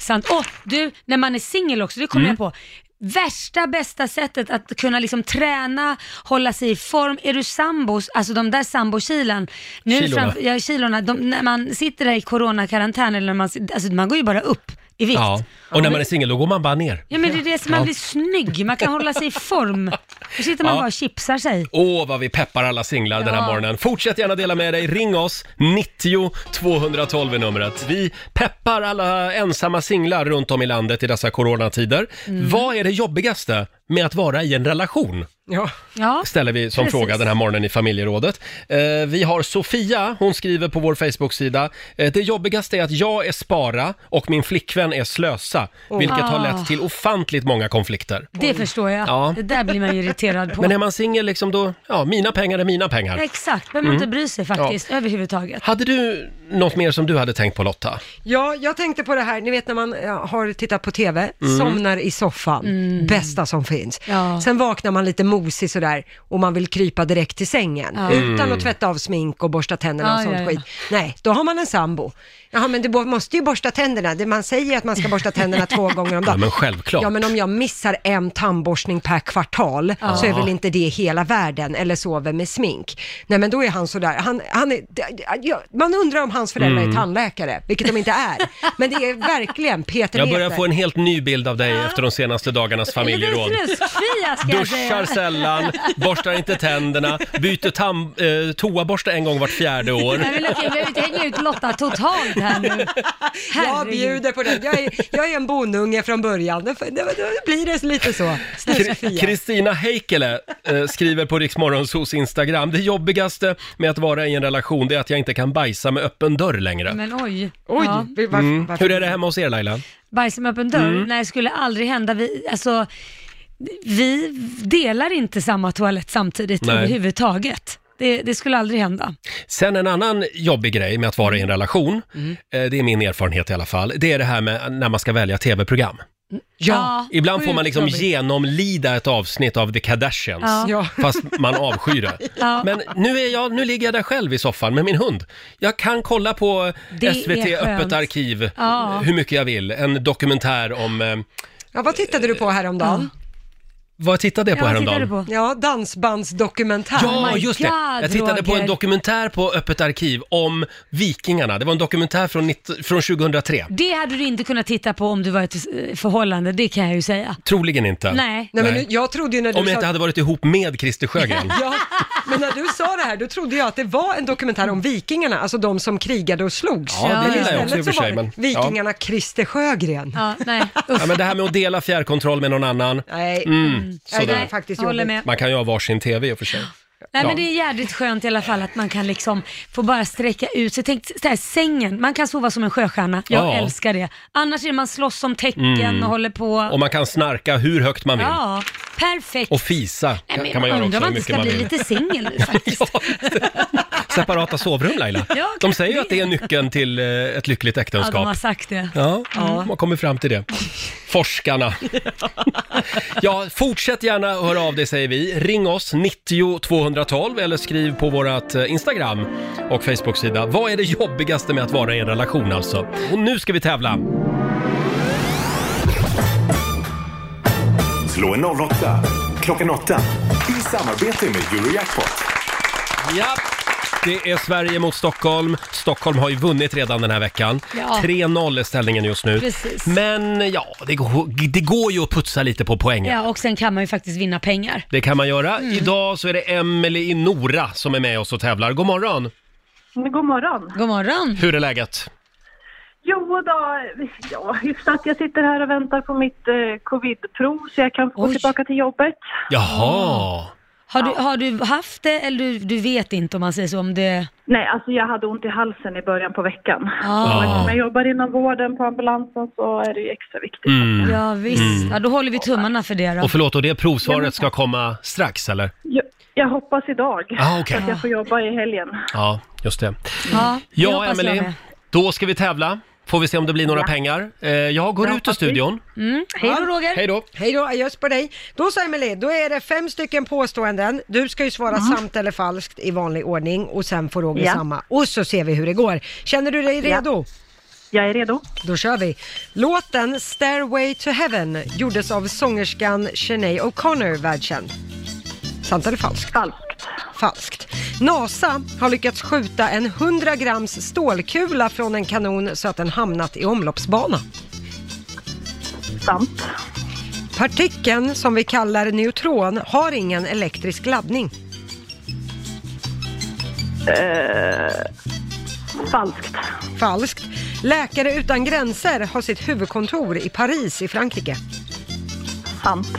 D: Sant. Och du, när man är singel också, det kommer
A: Mm.
D: jag på. Värsta bästa sättet att kunna liksom träna, hålla sig i form. Är du sambos, alltså de där sambokilen, nu
K: Kilorna.
D: framför- ja, kilorna de, när man sitter där i coronakarantän, eller när man, sit- alltså man går ju bara upp i vikt.
A: Ja. Och när man är singel då går man bara ner.
D: Ja men det är det som, man
A: Ja.
D: blir snygg, man kan hålla sig i form. Då sitter man
A: Ja.
D: bara och chipsar sig.
A: Åh, vad vi peppar alla singlar den här
D: Ja.
A: morgonen. Fortsätt gärna dela med dig. Ring oss, 90 212 är numret. Vi peppar alla ensamma singlar runt om i landet i dessa coronatider.
D: Mm.
A: Vad är det jobbigaste med att vara i en relation?
B: Ja.
D: Ja.
A: Ställer vi som
D: Precis.
A: fråga den här morgonen i familjerådet. Eh, vi har Sofia, hon skriver på vår Facebook-sida. Eh, det jobbigaste är att jag är spara och min flickvän är slösa,
D: Åh.
A: vilket har
D: Ah.
A: lett till ofantligt många konflikter.
D: Det förstår jag.
A: Ja.
D: Det där blir man ju irriterad på.
A: Men är man singel liksom då, ja, mina pengar är mina pengar.
D: Exakt, behöver man
A: Mm.
D: inte bry sig faktiskt överhuvudtaget.
A: Hade du något mer som du hade tänkt på Lotta?
B: Ja, jag tänkte på det här, ni vet när man ja, har tittat på TV,
A: Mm.
B: somnar i soffan, bästa som finns.
D: Ja.
B: Sen vaknar man lite mosig sådär och man vill krypa direkt till sängen
D: Ja.
B: utan
D: Mm.
B: att tvätta av smink och borsta tänderna och
D: Ja,
B: sånt
D: ja, ja.
B: skit. Nej, då har man en sambo. Ja, men du bo- måste ju borsta tänderna. Det- Man säger att man ska borsta tänderna två gånger om dagen.
A: Ja, men självklart.
B: Ja, men om jag missar en tandborstning per kvartal
A: Ja.
B: så är väl inte det hela världen eller sover med smink. Nej, men då är han sådär. Han, han är, d- d- ja, man undrar om hans föräldrar
A: Mm.
B: är tandläkare, vilket de inte är. Men
A: <laughs>
B: det är verkligen Peter
A: Jag börjar
B: Heter.
A: få en helt ny bild av dig efter de senaste dagarnas familjeråd.
D: Snuskfia ska jag säga.
A: Duschar sällan, borstar inte tänderna, byter tam, eh, toaborste en gång vart
D: <laughs>
A: fjärde år.
D: Nej, men okej, vi behöver inte hänga ut Lotta totalt
A: <laughs>
D: här nu.
B: <laughs> Jag bjuder på det. Jag är, jag är en bonunge från början. Det, det, det blir det lite så.
A: Kri- Kristina Heikkele eh, skriver på Riksmorgonsos Instagram, det jobbigaste med att vara i en relation det är att jag inte kan bajsa med öppen dörr längre.
D: Men oj.
B: Oj,
D: Ja.
A: Mm. Hur är det hemma hos er Laila?
D: Bajsa med öppen dörr?
A: Mm.
D: Nej, det skulle aldrig hända. Vi, alltså, vi delar inte samma toalett samtidigt
A: Nej.
D: överhuvudtaget. Det, det skulle aldrig hända.
A: Sen en annan jobbig grej med att vara i en relation,
D: Mm.
A: eh, det är min erfarenhet i alla fall, det är det här med när man ska välja tv-program.
D: Ja,
A: Ibland får man
D: sjukt
A: liksom
D: jobbigt.
A: genomlida ett avsnitt av The Kardashians,
D: Ja. Ja.
A: fast man avskyr
B: <laughs>
A: det.
D: Ja.
A: Men nu, är jag, nu ligger jag där själv i soffan med min hund. Jag kan kolla på
B: Det är
A: SVT
B: skönt.
A: Öppet arkiv
B: Ja.
A: hur mycket jag vill. En dokumentär om... Eh,
B: Ja, vad tittade du på häromdagen?
A: vad tittade jag på häromdagen?
B: Ja, dansbandsdokumentär.
A: Ja, just det. Jag tittade på en dokumentär på Öppet arkiv om vikingarna. Det var en dokumentär från, 19, från 2003.
D: Det hade du inte kunnat titta på om du var i ett eh, förhållande, det kan jag ju säga.
A: Troligen inte.
D: Nej.
B: Nej, men nu- jag trodde ju när du
A: Om jag
B: sa-
A: inte hade varit ihop med Christer Sjögren.
B: <laughs> Ja, men när du sa det här, då trodde jag att det var en dokumentär om vikingarna, alltså de som krigade och slogs.
A: Ja, det
B: Men
A: gillar jag
B: istället
A: också i och för
B: så var
A: sig,
B: det
A: men- ja.
B: Vikingarna Christer Sjögren.
D: Ja, nej.
A: Ja, men det här med att dela fjärrkontroll med någon annan.
B: Nej.
A: Mm,
D: Nej, det
A: sådär.
D: är faktiskt Jag håller jobbigt. med.
A: Man kan ju ha varsin TV i och för sig.
D: Nej
A: Ja.
D: men det är jävligt skönt i alla fall att man kan liksom få bara sträcka ut sig. Tänk så här, sängen, man kan sova som en sjöstjärna. Jag
A: Ja.
D: älskar det. Annars är det man slåss om tecken
A: Mm.
D: och håller på.
A: Och man kan snarka hur högt man vill.
D: Ja, perfekt.
A: Och fisa
D: Nej, men
A: kan man
D: jag
A: göra
D: undrar
A: också
D: om
A: hur
D: man inte
A: mycket
D: ska
A: man vill.
D: bli lite singel nu faktiskt.
A: Separata sovrum Laila.
D: <laughs>
A: <laughs>
D: Ja,
A: De säger ju att det är nyckeln till eh, ett lyckligt
D: Ja, de har
A: äktenskap.
D: sagt det.
A: Ja, Mm.
D: Ja.
A: de har kommit fram till det.
D: <laughs>
A: Forskarna. Ja, fortsätt gärna höra av dig säger vi. Ring oss 90 212 eller skriv på vårat eh, Instagram och Facebook-sida. Vad är det jobbigaste med att vara i en relation alltså? Och nu ska vi tävla.
I: Slå en 08 klockan 8 i samarbete med Eurojackpot.
A: Ja. Det är Sverige mot Stockholm. Stockholm har ju vunnit redan den här veckan.
I: Ja.
A: 3-0 är ställningen just nu.
D: Precis.
A: Men ja, det går, det går ju att putsa lite på poängen.
D: Ja, och sen kan man ju faktiskt vinna pengar.
A: Det kan man göra.
D: Mm.
A: Idag så är det Emelie i Nora som är med oss och tävlar. God morgon!
K: God morgon.
D: God morgon.
A: Hur är läget?
K: Jo då, ja, hyfsat. Jag sitter här och väntar på mitt eh, covidprov så jag kan få gå tillbaka till jobbet.
A: Jaha!
D: Har, du, har du haft det eller du, du vet inte om man säger så om det...
K: Nej, alltså jag hade ont i halsen i början på veckan.
D: Ah.
K: Och Eftersom jag jobbar inom vården på ambulansen så är det ju extra viktigt.
A: Mm.
D: Ja visst,
A: Mm.
D: ja, då håller vi tummarna för det då.
A: Och förlåt, och det provsvaret ska komma strax eller?
K: Jag, jag hoppas idag
A: Ah, okej.
K: att jag får jobba i helgen.
A: Ja, just det.
D: Ja, det
A: Ja,
D: hoppas jag
A: Emelie,
D: med.
A: då ska vi tävla. Får vi se om det blir några
B: Ja.
A: pengar. Eh, jag går ut ur studion.
B: Mm.
D: Hej då Roger!
A: Hej då!
B: Hej då, just på dig. Då så Emelie, då är det fem stycken påståenden. Du ska ju svara sant eller falskt i vanlig ordning och sen får Roger
K: Ja.
B: samma. Och så ser vi hur det går. Känner du dig
K: Ja.
B: redo?
K: Jag är redo.
B: Då kör vi. Låten Stairway to Heaven gjordes av sångerskan Sinead O'Connor världskänd. Sant eller falskt?
K: Falskt.
B: Falskt. NASA har lyckats skjuta en 100 grams stålkula från en kanon så att den hamnat i omloppsbana.
K: Sant.
B: Partikeln som vi kallar neutron har ingen elektrisk laddning.
K: falskt.
B: Falskt. Läkare utan gränser har sitt huvudkontor i Paris i Frankrike.
K: Sant.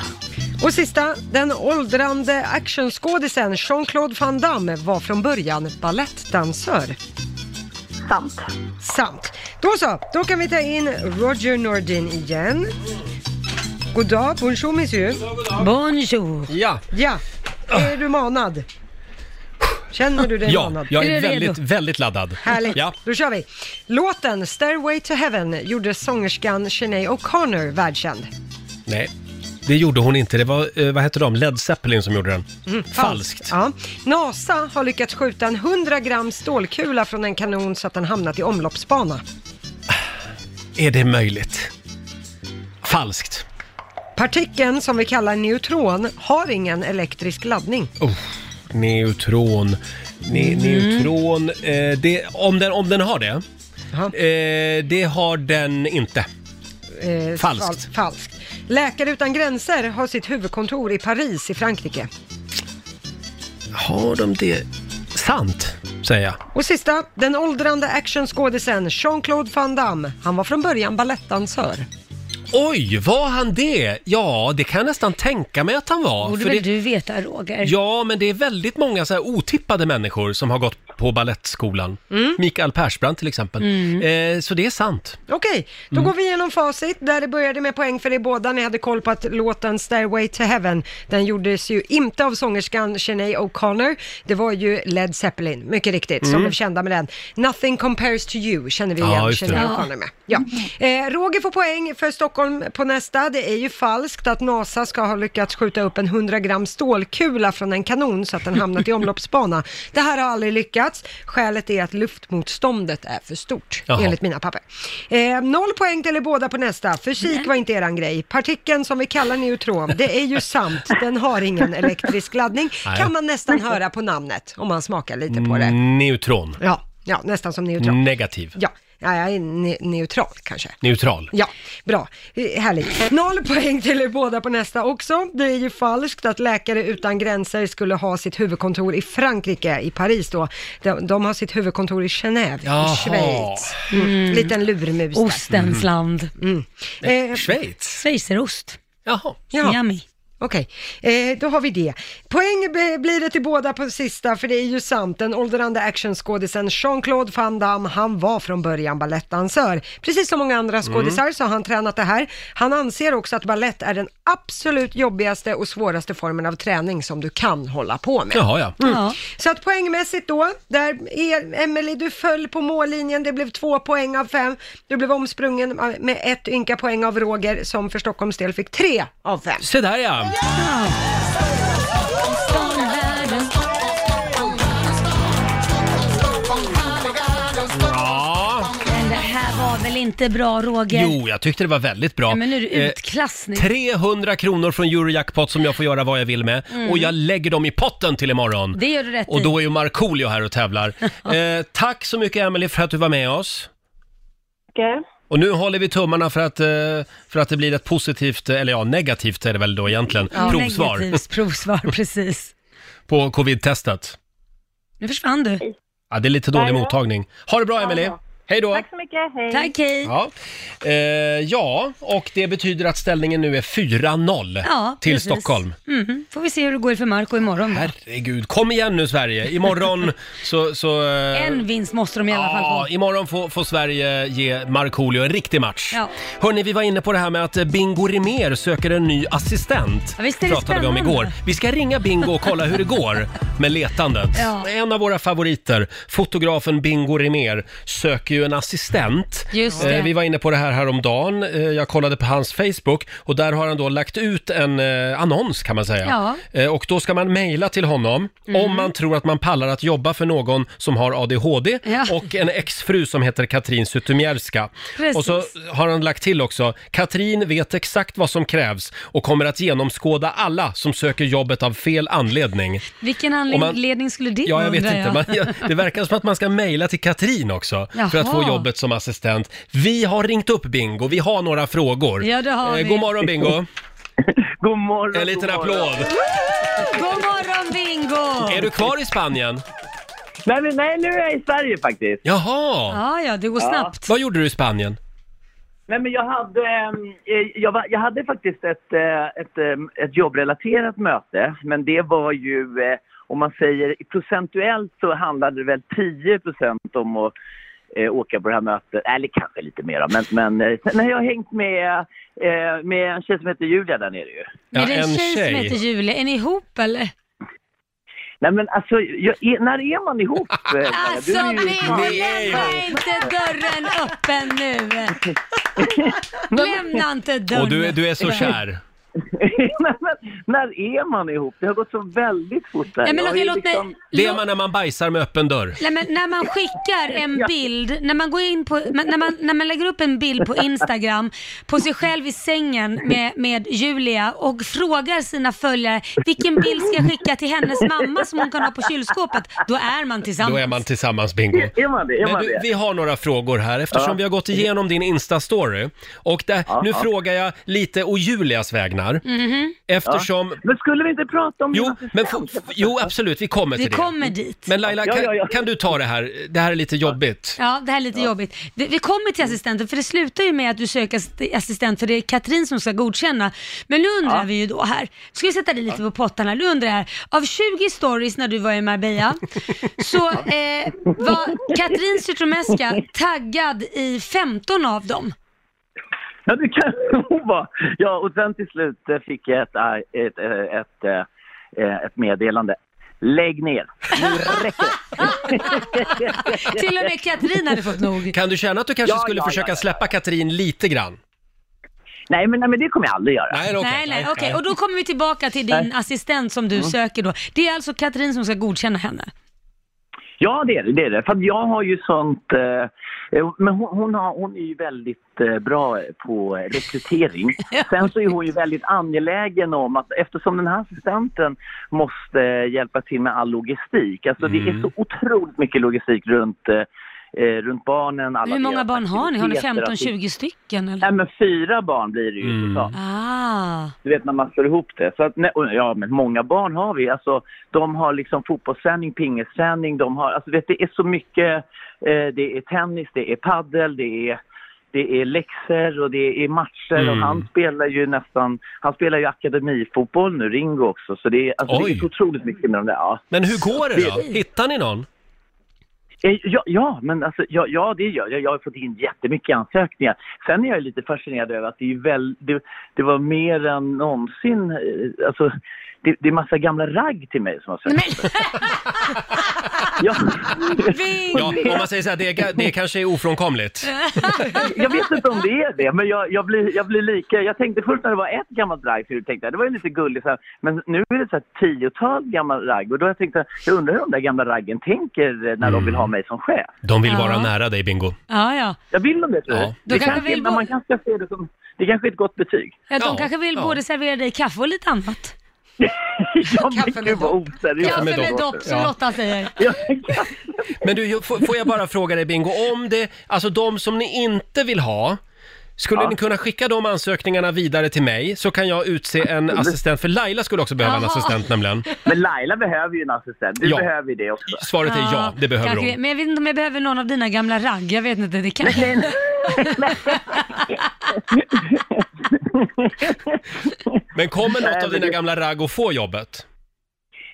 B: Och sista, den åldrande actionskådisen Jean-Claude Van Damme var från början ballettdansör.
K: Sant.
B: Sant. Då så, då kan vi ta in Roger Nordin igen. God dag, bonjour monsieur.
D: Bonjour.
A: Ja.
B: Ja, är du manad? Känner du dig
A: Ja,
B: manad?
A: jag är väldigt, väldigt laddad.
B: Härligt,
A: Ja.
B: då kör vi. Låten Stairway to Heaven gjorde sångerskan Sinead O'Connor världskänd.
A: Nej. Det gjorde hon inte. Det var, eh, vad hette de? Led Zeppelin som gjorde den.
B: Mm,
A: Falskt.
B: Ja. NASA har lyckats skjuta en 100 gram stålkula från en kanon så att den hamnat i omloppsbana.
A: Är det möjligt? Falskt.
B: Partikeln, som vi kallar neutron, har ingen elektrisk laddning.
A: Oh, neutron. Ne-
B: Mm.
A: Neutron. Eh, det, om, den, om den har det. Eh, det har den inte.
B: Eh,
A: Falskt.
B: fal- falskt. Läkare utan gränser har sitt huvudkontor i Paris i Frankrike.
A: Har de det? Sant, säger jag.
B: Och sista, den åldrande actionskådisen Jean-Claude Van Damme. Han var från början balettdansör.
A: Oj, var han det? Ja, det kan jag nästan tänka mig att han var.
D: Borde
A: för
D: väl
A: det...
D: du veta Roger?
A: Ja, men det är väldigt många så här otippade människor som har gått på balettskolan.
B: Mm.
A: Mikael Persbrandt till exempel. Eh, så det är sant.
B: Okej, då
A: Mm.
B: går vi igenom facit där det började med poäng för er båda. Ni hade koll på att låten Stairway to Heaven, den gjordes ju inte av sångerskan Sinead O'Connor. Det var ju Led Zeppelin, mycket riktigt, som
N: Mm.
B: blev kända med den. Nothing compares to you känner vi
N: Ja,
B: igen
N: just det.
B: Sinead
N: Ja.
B: O'Connor med. Ja. Eh, Roger får poäng för Stockholm på nästa. Det är ju falskt att NASA ska ha lyckats skjuta upp en 100 gram stålkula från en kanon så att den hamnat i omloppsbana. Det här har aldrig lyckats. Skälet är att luftmotståndet är för stort,
N: Jaha.
B: enligt mina papper. Eh, noll poäng till er båda på nästa. Fysik var inte eran grej. Partikeln som vi kallar neutron, det är ju sant. Den har ingen elektrisk laddning.
A: Nej.
B: Kan man nästan höra på namnet om man smakar lite på det.
A: Mm, Neutron.
B: Ja, ja nästan som
A: Mm.
B: neutron.
A: Negativ.
B: Ja, ja jag är ne- neutral kanske.
A: Neutral.
B: Ja, bra. Eh, Härligt. Noll poäng till er båda på nästa också. Det är ju falskt att Läkare Utan Gränser skulle ha sitt huvudkontor i Frankrike, i Paris då. De, de har sitt huvudkontor i Genève,
D: Jaha.
B: i Schweiz. Mm.
D: Mm.
B: Liten lurmus där.
D: Ostens land.
B: Mm. Eh,
A: Schweiz?
D: Schweizerost.
A: Jaha.
B: Ja.
D: Yummy.
B: Okej, eh, då har vi det. Poäng be- blir det till båda på sista, för det är ju sant. Den åldrande actionskådisen Jean-Claude Van Damme, han var från början balettdansör. Precis som många andra skådisar
N: Mm.
B: så har han tränat det här. Han anser också att ballett är den absolut jobbigaste och svåraste formen av träning som du kan hålla på med.
N: Jaha, ja.
B: Mm.
N: Ja.
B: Så att poängmässigt då, där är, Emily du föll på mållinjen, det blev två poäng av fem. Du blev omsprungen med ett ynka poäng av Roger som för Stockholms del fick tre av fem.
A: Se där ja! Ja.
D: Men det här var väl inte bra Roger?
A: Jo, jag tyckte det var väldigt bra.
D: Nej, men nu är det
A: Eh,
D: utklassning.
A: 300 kronor från Eurojackpot som jag får göra vad jag vill med.
D: Mm.
A: Och jag lägger dem i potten till imorgon.
D: Det gör du rätt
A: Och
D: i.
A: då är ju Markoolio här och
D: <laughs>
A: tävlar. eh, tack så mycket Emelie för att du var med oss. Och nu håller vi tummarna för att, eh, för att det blir ett positivt, eller ja negativt är det väl då egentligen,
D: Ja,
A: provsvar <laughs>
D: negativt Provsvar, precis.
A: på covid-testet.
D: Nu försvann du.
A: Ja, det är lite dålig
D: Ja, ja.
A: mottagning. Ha det bra Emelie! Hej då!
D: så mycket, hej. Tack, hej.
A: Ja. Eh, ja, och det betyder att ställningen nu är 4-0
D: Ja,
A: till
D: precis.
A: Stockholm.
D: Mhm. Får vi se hur det går för Marco imorgon då.
A: Herregud, kom igen nu Sverige!
D: <laughs>
A: Imorgon så... så eh,
D: En vinst måste de i alla fall
A: Ja,
D: få.
A: imorgon får, får Sverige ge Markoolio en riktig match.
D: Ja.
A: Hörni, vi var inne på det här med att eh, Bingo Rimér söker en ny assistent.
D: Ja, visst är det
A: pratade vi om
D: spännande.
A: igår. Vi ska ringa Bingo och kolla hur det går med letandet.
D: Ja.
A: En av våra favoriter, fotografen Bingo Rimér, söker ju en assistent. Eh,
D: Just det.
A: vi var inne på det här häromdagen. Eh, Jag kollade på hans Facebook och där har han då lagt ut en eh, annons kan man säga.
D: Ja.
A: Eh, Och då ska man mejla till honom
D: Mm.
A: om man tror att man pallar att jobba för någon som har ADHD och en exfru som heter Katrin Zytomierska.
D: Precis.
A: Och så har han lagt till också, Katrin vet exakt vad som krävs och kommer att genomskåda alla som söker jobbet av fel anledning.
D: Vilken
A: Om man-
D: anledning skulle det
A: Ja, jag vet
D: undrar
A: inte. Man, jag- det verkar som att man ska mejla till Katrin också för att få
D: Jaha.
A: jobbet som assistent. Vi har ringt upp Bingo, vi har några frågor. Eh,
D: Ja, det har vi.
A: God morgon Bingo!
L: <laughs> god morgon!
A: En liten
L: god morgon.
A: applåd!
D: God morgon Bingo!
A: Är du kvar i Spanien?
L: Nej, men nej, nu är jag i Sverige faktiskt.
A: Jaha!
D: Ja, ja, det går
L: Ja.
D: snabbt.
A: Vad gjorde du i Spanien?
L: Nej, men jag hade, ehm, eh, jag, var, jag hade faktiskt ett, eh, ett, ehm, ett jobbrelaterat möte, men det var ju, eh, om man säger procentuellt så handlade det väl 10 procent om att eh, åka på det här mötet, eller kanske lite mer men, men eh, nej, jag har hängt med, eh, med en tjej som heter Julia där nere ju.
D: är det en, tjej, som heter Julia? Är ni ihop eller?
L: Nej men alltså, jag, är- när är man
D: <laughs>
L: ihop? eh, Maja? Du
D: Alltså
L: är ju-
D: Bingo, lämna inte dörren öppen nu! Lämna inte dörren
A: Och du, är- du är så
D: öppen.
A: kär.
N: <laughs> Nej, men, när är man ihop? Det har gått så väldigt fort där.
D: Nej, men
N: Jag
D: okej,
N: är liksom-
D: låt mig-
A: Det är man när man bajsar med öppen dörr.
D: Nej, men när man skickar en bild, när man går in på, men när man, när man lägger upp en bild på Instagram på sig själv i sängen med, med Julia och frågar sina följare vilken bild ska jag skicka till hennes mamma som hon kan ha på kylskåpet, då är man
A: Då
D: tillsammans.
A: är man tillsammans, bingo.
D: Är man det? Är
A: Men
D: man
A: du,
D: det?
A: vi har några frågor här eftersom
D: Ja.
A: vi har gått igenom din Insta-story. Och där, nu
N: ja.
A: frågar jag lite å Julias vägnar.
D: Mm. Mhm.
A: Eftersom...
N: Men skulle vi inte prata om
A: Jo, men få- f- jo, absolut, vi kommer till
D: Vi
A: det.
D: kommer dit.
A: Men Laila,
D: Ja,
A: kan,
D: ja, ja.
A: kan du ta det här? Det här är lite jobbigt.
D: Ja, det här är lite jobbigt. Vi, vi kommer till assistenten, för det slutar ju med att du söker assist- assistent, för det är Katrin som ska godkänna. Men nu undrar
O: Ja.
D: vi ju då här, ska vi sätta dig lite på pottarna, nu undrar jag här, av 20 stories när du var i Marbella, så eh, var Katrin Zytomierska taggad i 15 av dem.
N: Ja, det kan <laughs> hon vara. Ja, och sen till slut eh, fick jag ett, eh, ett, eh, ett, eh, ett meddelande. Lägg ner.
D: <laughs> Till och med Katrin hade fått nog.
A: Kan du känna att du kanske
N: Ja,
A: skulle
N: ja,
A: försöka
N: ja, ja.
A: släppa Katrin lite grann?
N: Nej, men, nej, men det kommer jag aldrig göra.
A: Nej, okej.
D: nej, nej,
A: Nej,
D: okej.
A: nej.
D: Och då kommer vi tillbaka till din
N: Nej.
D: assistent som du
N: Mm.
D: söker då. Det är alltså Katrin som ska godkänna henne.
N: Ja, det är det. det, är det. För att jag har ju sånt... Eh, eh, men hon, hon, har, hon är ju väldigt eh, bra på eh,
D: <laughs>
N: rekrytering. Sen så är hon ju väldigt angelägen om att eftersom den här assistenten måste eh, hjälpa till med all logistik. Alltså det
D: Mm.
N: är så otroligt mycket logistik runt, eh, eh, runt barnen. Alla
D: Hur många
N: deras
D: barn har ni? Har ni
N: aktiviteter, att det-
D: 15-20 stycken? Eller?
N: Nej, men fyra barn blir det ju
A: Mm.
N: totalt.
D: Ah.
N: Du vet när man slår ihop det. Så att, nej, och ja, men många barn har vi. Alltså, de har liksom fotbollsträning, pingisträning, de har, alltså vet, det är så mycket. Eh, det är tennis, det är paddel, det är, det är läxor och det är matcher.
A: Mm.
N: Och han spelar ju nästan, han spelar ju akademifotboll nu, Ringo också. Så det är, alltså, det
A: Oj.
N: är så otroligt mycket med de där. Ja.
A: Men hur går det då? Hittar ni någon?
N: Eh, Ja, ja men alltså, ja, ja, det gör jag. Jag har fått in jättemycket ansökningar. Sen är jag lite fascinerad över att det, är väl, det, det var mer än någonsin. eh, Alltså, det, det är massa gamla ragg till mig som har sökt. <laughs> ja.
A: Ja, om man säger så här, det, är- det kanske är ofrånkomligt.
N: <laughs> jag vet inte om det är det, men jag, jag, blir, jag blir lika... Jag tänkte först när det var ett gammalt ragg, så tänkte jag, det var ju lite gulligt. Så här, men nu är det så här tiotal gamla ragg och då har jag tänkt, jag undrar hur de där gamla raggen tänker eh, när
A: Mm.
N: de vill ha mig som chef.
A: De vill
D: Ja.
A: vara nära dig, Bingo.
D: Ja, ja.
N: Jag vill dem det, tror jag.
A: Ja.
D: Då
N: Det,
D: kanske
N: kanske,
D: vi
N: men
D: bo-
N: man kanske ser det som... Det kanske är ett gott betyg.
D: Ja, de kanske vill både servera dig kaffe och lite annat.
N: Kaffe med dopp.
D: Kaffe med dopp, som Lotta säger.
A: Men du, får får jag bara fråga dig Bingo, om det, alltså de som ni inte vill ha, skulle
N: Ja.
A: ni kunna skicka de ansökningarna vidare till mig så kan jag utse en assistent, för Laila skulle också behöva en
D: Jaha.
A: assistent nämligen.
N: <laughs> Men Laila behöver ju en assistent. Du
A: Ja.
N: behöver ju det också.
A: Svaret är ja, det behöver
D: Kanske det.
A: hon.
D: Men jag vet inte om jag behöver någon av dina gamla ragg. Jag vet inte, det kanske...
A: Men kommer
N: Nej,
A: något
N: men
A: av dina
N: det-
A: gamla ragg att få jobbet?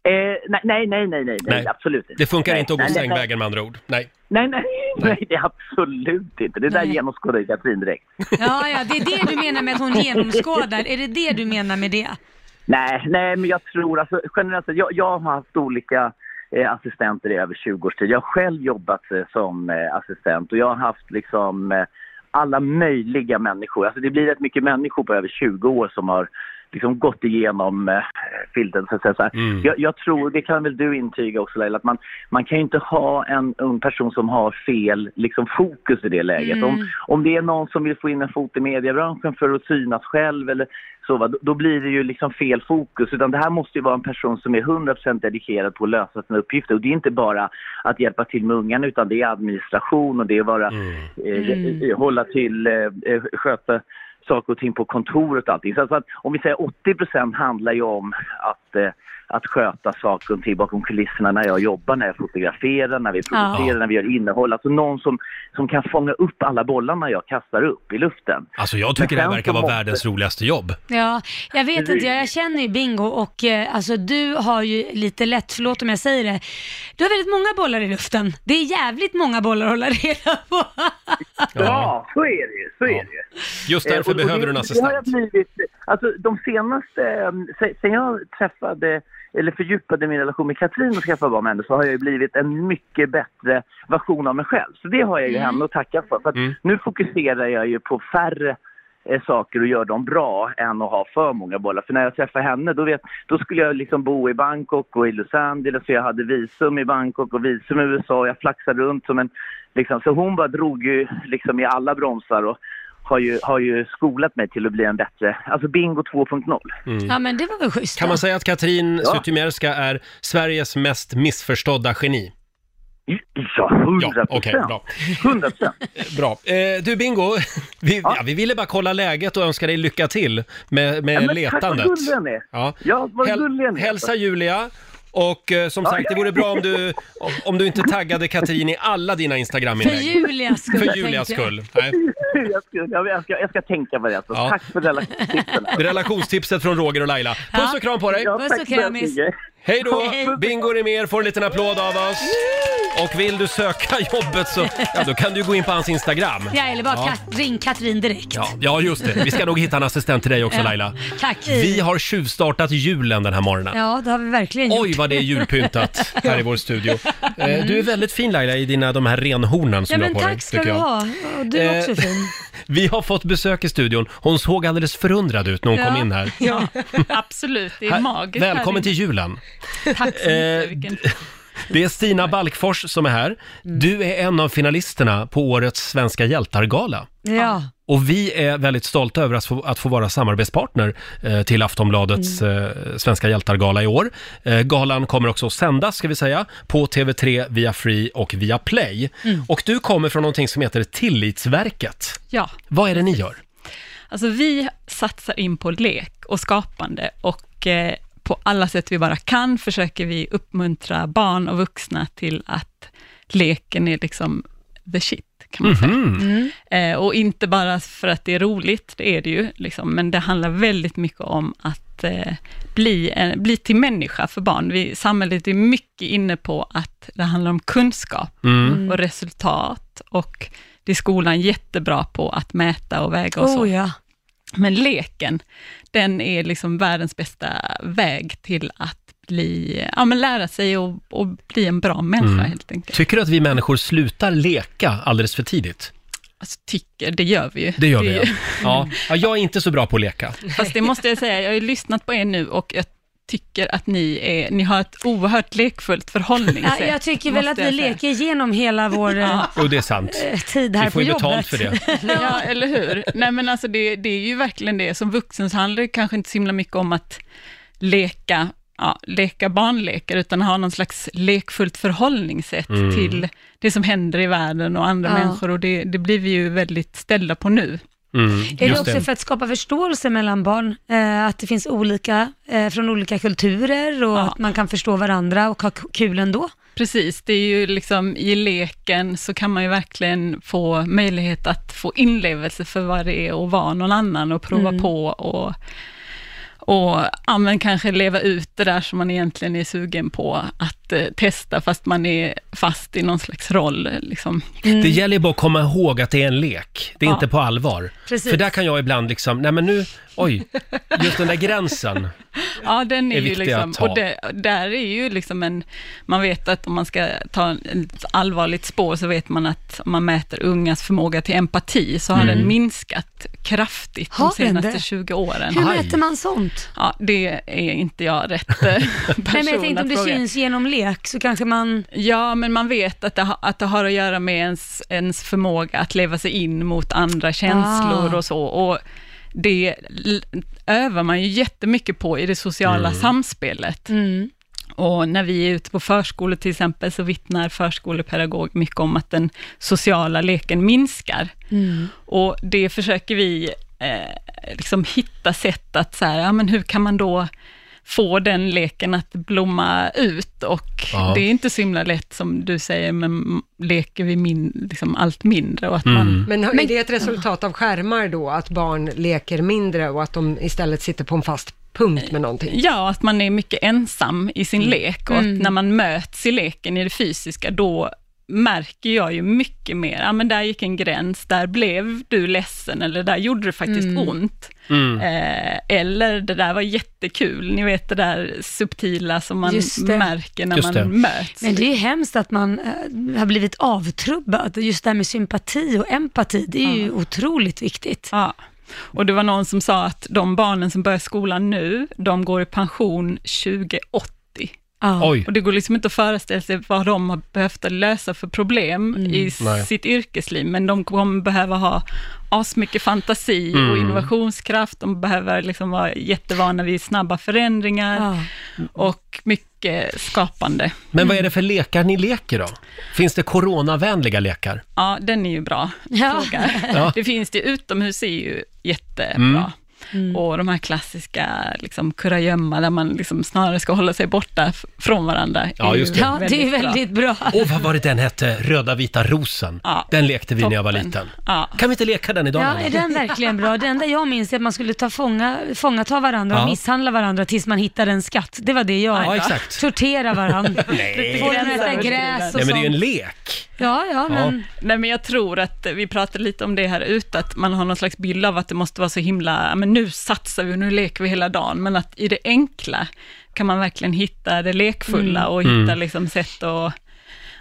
N: Eh, nej, nej, nej, nej, nej, nej, absolut inte.
A: Det funkar
N: nej,
A: inte att gå
N: nej, nej,
A: sängvägen med andra ord. Nej.
N: Nej, nej, <laughs> nej, det är absolut inte. Det där genomskådar ju Katrin direkt.
D: Ja, ja, det är det du menar med att hon genomskådar. Är det det du menar med det?
N: Nej, nej, men jag tror alltså generellt sett, jag, jag har haft olika eh, assistenter i över 20 års tid. Jag har själv jobbat eh, som eh, assistent och jag har haft liksom eh, alla möjliga människor. Alltså det blir rätt mycket människor på över 20 år som har liksom gått igenom eh, filten så att säga. Så här. Jag, jag tror, det kan väl du intyga också Laila, att man, man kan ju inte ha en ung person som har fel liksom, fokus i det läget.
P: Mm.
N: Om, om det är någon som vill få in en fot i mediebranschen för att synas själv eller så, va, då, då blir det ju liksom fel fokus. Utan det här måste ju vara en person som är 100% dedikerad på att lösa sina uppgifter. Och det är inte bara att hjälpa till med ungarna utan det är administration och det är bara eh,
P: Mm.
N: eh, hålla till, eh, eh, sköta saker och ting på kontoret och allting. Så alltså att, så att om vi säger 80 procent handlar ju om att, eh, att sköta saker och ting bakom kulisserna när jag jobbar, när jag fotograferar, när vi
P: Ja.
N: producerar, när vi gör innehåll. Alltså någon som, som kan fånga upp alla bollarna jag kastar upp i luften.
A: Alltså jag
N: Men
A: tycker det här
N: sen
A: verkar
N: så
A: vara
N: måste-
A: världens roligaste jobb.
D: Ja, jag vet inte. Jag, jag känner ju Bingo och eh, alltså, du har ju lite lätt, förlåt om jag säger det, du har väldigt många bollar i luften. Det är jävligt många bollar att hålla reda på.
N: Ja, så är det ju. Så är det ju.
A: Just därför
N: Eh, och- och
A: behöver
N: det-
A: du en
N: Det har jag
A: assistent.
N: blivit, alltså de senaste, eh, se- sen jag träffade eller fördjupade min relation med Katrin och skaffade barn med henne så har jag ju blivit en mycket bättre version av mig själv. Så det har jag ju
P: Mm.
N: henne att tacka för. för att Nu fokuserar jag ju på färre eh, saker och gör dem bra än att ha för många bollar. För när jag träffade henne då, vet, då skulle jag liksom bo i Bangkok och i Los Angeles och jag hade visum i Bangkok och visum i USA och jag flaxade runt som en... Liksom, så hon bara drog ju liksom i alla bromsar och har ju, har ju skolat mig till att bli en bättre... Alltså bingo 2.0.
A: Mm.
D: Ja, men det var väl schysst
A: Kan
D: då.
A: man säga att Katrin
N: Ja.
A: Zytomierska är Sveriges mest missförstådda geni?
N: Ja, 100
A: Ja, okej, bra.
N: 100
A: <laughs> Bra. Eh, du Bingo, <laughs> vi, ja. vi ville bara kolla läget och önska dig lycka till med, med
N: Ja, men tack,
A: letandet.
N: vad gulliga ni är.
A: Ja.
N: Ja, vad gulliga ni är.
A: Hälsa Julia. Och eh, som
N: Ja.
A: sagt, det vore bra om du, om- om du inte taggade Katrin i alla dina
D: För
A: Instagram-inlägg.
D: Julias skull.
A: För Julias
D: tänkte jag.
A: skull. Nej.
N: <laughs> jag, ska, jag, ska, jag ska tänka på det. Alltså.
A: Ja.
N: Tack för relationen.
A: <laughs> Relationstipset från Roger och Laila. Puss och kram på dig!
N: Ja, Puss tack och kramis. så mycket.
A: Hej då!
N: Hej.
A: Bingo mer får en liten applåd av oss. Och vill du söka <laughs> jobbet så ja, då kan du gå in på hans Instagram.
D: Ja, eller bara
A: Ja.
D: Kat- ring Katrin direkt.
A: Ja, ja, just det. Vi ska nog hitta en assistent till dig också
D: Ja.
A: Laila.
D: Tack.
A: Vi har tjuvstartat julen den här morgonen.
D: Ja, det har vi verkligen
A: Oj,
D: gjort.
A: vad det är
D: <laughs>
A: julpyntat här i vår studio. Eh, Du är väldigt fin Laila i dina de här renhornen som
D: Ja,
A: du har
D: men
A: på dig.
D: tack ska
A: tycker
D: du
A: jag.
D: ha. Och du är också
A: Eh,
D: fin.
A: Vi har fått besök i studion. Hon såg alldeles förundrad ut när hon kom in här.
O: Ja, absolut. Det är
A: Här-
O: magiskt. här
A: Välkommen till
O: inne.
A: julen.
O: Tack så
A: Eh,
O: mycket. Vilken...
A: Det är Stina Balkfors som är här.
O: Mm.
A: Du är en av finalisterna på årets Svenska hjältargala.
D: Ja.
A: Och vi är väldigt stolta över att få, att få vara samarbetspartner eh, till Aftonbladets
O: Mm.
A: eh, Svenska hjältargala i år. Eh, galan kommer också att sändas, ska vi säga, på TV3, via Free och via Play.
O: Mm.
A: Och du kommer från någonting som heter Tillitsverket.
O: Ja,
A: Vad är det ni gör?
O: alltså vi satsar in på lek och skapande och eh, på alla sätt vi bara kan försöker vi uppmuntra barn och vuxna till att leken är liksom the shit, kan man säga.
P: Mhm.
D: Mm.
O: Eh, och inte bara för att det är roligt, det är det ju, liksom, men det handlar väldigt mycket om att eh, bli, eh, bli till människa för barn. Vi, samhället är mycket inne på att det handlar om kunskap
A: Mm.
O: och resultat och det är skolan jättebra på att mäta och väga och så.
D: Oh, ja.
O: Men leken, den är liksom världens bästa väg till att bli, ja, men lära sig och, och bli en bra människa
A: Mm.
O: helt enkelt.
A: Tycker du att vi människor slutar leka alldeles för tidigt?
O: Alltså, tycker, det gör vi ju.
A: Det gör vi.
O: är
A: Ja.
O: ju-
A: <laughs> Ja. Ja, jag är inte så bra på att leka.
O: <laughs> Fast det måste jag säga, jag har ju lyssnat på er nu och jag tycker att ni, är, ni har ett oerhört lekfullt förhållningssätt.
D: Ja, jag tycker väl
O: måste
D: att
O: jag
D: vi
O: säga.
D: leker igenom
O: <laughs>
D: hela vår eh,
A: Jo, det är sant.
D: eh, tid här
A: Vi får
D: på
A: ju
D: jobbet.
A: betalt för
D: <laughs>
A: det.
O: ja, eller hur? Nej, men alltså det, det är ju verkligen det. Som vuxen så handlar det kanske inte så himla mycket om att leka, ja, leka barnlekar, utan ha någon slags lekfullt förhållningssätt
D: Mm.
O: till det som händer i världen och andra
D: Ja.
O: människor, och det, det blir vi ju väldigt ställda på nu.
A: Mm,
D: Är det
O: Just
D: också
O: det.
D: för att skapa förståelse mellan barn? Eh, att det finns olika, eh, från olika kulturer och att man kan förstå varandra och ha k- kul ändå?
O: Precis, det är ju liksom i leken så kan man ju verkligen få möjlighet att få inlevelse för vad det är att vara någon annan och prova
D: Mm.
O: på och, och ja, men kanske leva ut det där som man egentligen är sugen på att eh, testa fast man är fast i någon slags roll. Liksom.
D: Mm.
A: Det gäller ju bara att komma ihåg att det är en lek. Det är
O: Ja.
A: inte på allvar.
O: Precis.
A: För där kan jag ibland liksom, nej men nu, oj, just den där gränsen.
O: <laughs> Ja, den är,
A: är
O: ju
A: viktig
O: liksom,
A: att ta.
O: och det, där är ju liksom en, man vet att om man ska ta ett allvarligt spår så vet man att om man mäter ungas förmåga till empati så har
D: Mm.
O: den minskat kraftigt
D: Har
O: de
D: den
O: senaste
D: det?
O: 20 åren.
D: Hur mäter man sånt?
O: Ja, det är inte jag rätt eh, <laughs> person
D: Nej, men jag tänkte
O: att
D: om det
O: fråga.
D: syns genom lek så kanske man...
O: Ja, men man vet att det, ha- att det har att göra med ens, ens förmåga att leva sig in mot andra känslor
D: Ah.
O: och så. Och det l- övar man ju jättemycket på i det sociala
D: Mm.
O: samspelet.
D: Mm.
O: Och när vi är ute på förskolor till exempel, så vittnar förskolepedagog mycket om att den sociala leken minskar.
D: Mm.
O: Och det försöker vi eh, liksom hitta sätt att så här, ja, men hur kan man då få den leken att blomma ut och
A: Ja.
O: det är inte så himla lätt som du säger, men leker vi min, liksom allt mindre och att man...
A: Mm.
B: Men har- är det ett resultat av skärmar då, att barn leker mindre och att de istället sitter på en fast punkt med någonting?
O: Ja, att man är mycket ensam i sin
B: Mm.
O: lek och att
B: Mm.
O: när man möts i leken i det fysiska, då märker jag ju mycket mer, ja men där gick en gräns, där blev du ledsen eller där gjorde det faktiskt
D: Mm.
O: ont.
D: Mm.
O: Eh, eller det där var jättekul, ni vet det där subtila som man
D: Just det.
O: märker när
A: Just
O: man
A: det.
O: möts.
D: Men det är ju hemskt att man eh, har blivit avtrubbad. Just det här med sympati och empati, det är ju otroligt viktigt.
O: Ja. Och det var någon som sa att de barnen som börjar skolan nu, de går i pension 2080.
D: Ja. Oj.
O: Och det går liksom inte att föreställa sig vad de har behövt att lösa för problem
D: Mm.
O: i
D: Nej.
O: sitt yrkesliv, men de kommer behöva ha asmycket fantasi och
D: Mm.
O: innovationskraft, de behöver liksom vara jättevana vid snabba förändringar och mycket skapande.
A: Men vad är det för lekar ni leker då? Finns det coronavänliga lekar?
O: Ja, den är ju bra fråga.
A: <laughs> Ja.
O: Det finns det, utomhus är ju jättebra.
A: Mm.
O: Och de här klassiska liksom, kurragömma där man liksom snarare ska hålla sig borta f- från varandra. är
A: Ja,
O: ju
A: just det. Ja, det är
D: väldigt bra.
A: Åh, vad var det den hette? Röda vita rosen.
O: Ja.
A: Den lekte vi när jag var liten.
O: Ja.
A: Kan vi inte leka den idag?
D: Ja,
A: Laila?
D: är den verkligen bra? Det enda jag minns är att man skulle ta fånga, fånga ta varandra
A: Ja.
D: och misshandla varandra tills man hittade en skatt. Det var det jag
A: Ja,
D: var.
A: exakt.
D: Tortera varandra.
A: <laughs> Nej.
D: Få dem att äta gräs och
A: Nej, men det är ju en
D: sånt.
A: lek.
D: Ja, ja, men...
O: Nej, men jag tror att vi pratade lite om det här ute, att man har någon slags bild av att det måste vara så himla, ja, men nu satsar vi och nu leker vi hela dagen, men att i det enkla kan man verkligen hitta det lekfulla
D: Mm.
O: och hitta
D: Mm.
O: liksom sätt att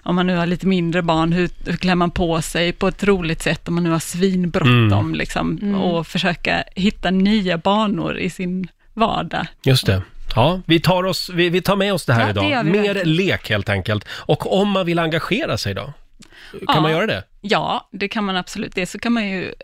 O: om man nu har lite mindre barn, hur, hur klär man på sig på ett roligt sätt om man nu har svinbråttom
A: Mm.
O: liksom,
A: Mm.
O: och försöka hitta nya banor i sin vardag.
A: Just det. Ja, vi tar, oss, vi, vi tar med oss det här
O: Ja, det gör
A: idag.
O: vi
A: Mer
O: verkligen.
A: lek helt enkelt. Och om man vill engagera sig då? Kan
O: Ja.
A: man göra det?
O: Ja, det kan man absolut. Det så kan man ju eh,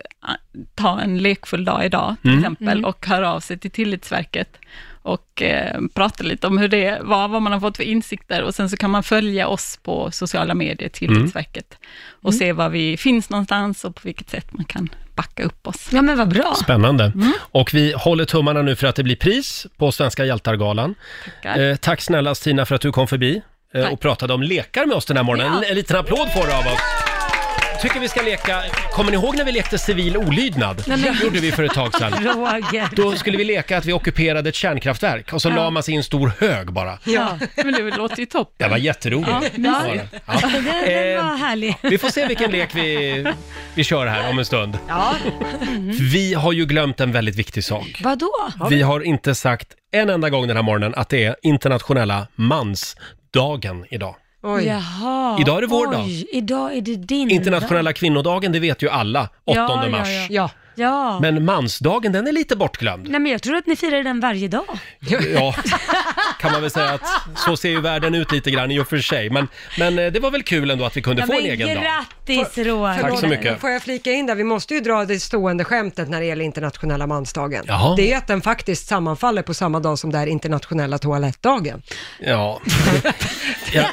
O: ta en lekfull dag idag till
A: Mm.
O: exempel
A: Mm.
O: och höra av sig till Tillitsverket och eh, prata lite om hur det var, vad man har fått för insikter och sen så kan man följa oss på sociala
A: Mm.
O: medier, Tillitsverket, och
D: Mm.
O: se var vi finns någonstans och på vilket sätt man kan backa upp oss.
D: Ja, men vad bra.
A: Spännande.
O: Mm.
A: Och vi håller tummarna nu för att det blir pris på Svenska Hjältargalan.
O: Tackar.
A: Eh, tack snälla Stina för att du kom förbi eh,
O: Tack.
A: och pratade om lekar med oss den här morgonen.
O: Ja.
A: En, en liten applåd får du av oss. Tycker vi ska leka, kommer ni ihåg när vi lekte civil olydnad?
D: Nej, men-
A: Det gjorde vi för ett tag
O: <laughs>
A: sedan.
D: <laughs> Roger.
A: Då skulle vi leka att vi ockuperade ett kärnkraftverk och så
D: Ja.
A: la man sig i en stor hög bara.
O: Ja, men det låter ju toppen.
A: Det var jätteroligt.
D: Ja,
A: Det var det.
D: ja. Den, <laughs> den var härlig.
A: Vi får se vilken lek vi, vi kör här om en stund.
D: Ja.
A: Vi har ju glömt en väldigt viktig sak.
D: Vadå?
A: Vi har inte sagt en enda gång den här morgonen att det är internationella mansdagen idag.
D: Oj. Jaha.
A: Idag är det vår
D: Oj,
A: dag.
D: Idag är det din
A: Internationella
D: dag.
A: kvinnodagen, det vet ju alla, 8
D: Ja,
A: mars.
D: Ja, ja. ja.
A: Men mansdagen, den är lite bortglömd.
D: Nej, men jag tror att ni firar den varje dag.
A: Ja, kan man väl säga att så ser ju världen ut lite grann i och för sig. Men, men eh, det var väl kul ändå att vi kunde
B: Ja,
A: få en
B: men
A: egen dag.
D: Grattis Roger!
A: Tack så mycket.
B: Men Får jag flika in där, vi måste ju dra det stående skämtet när det gäller internationella mansdagen.
A: Jaha.
B: Det är att den faktiskt sammanfaller på samma dag som det är internationella toalettdagen.
D: <laughs>
A: Ja. Jag,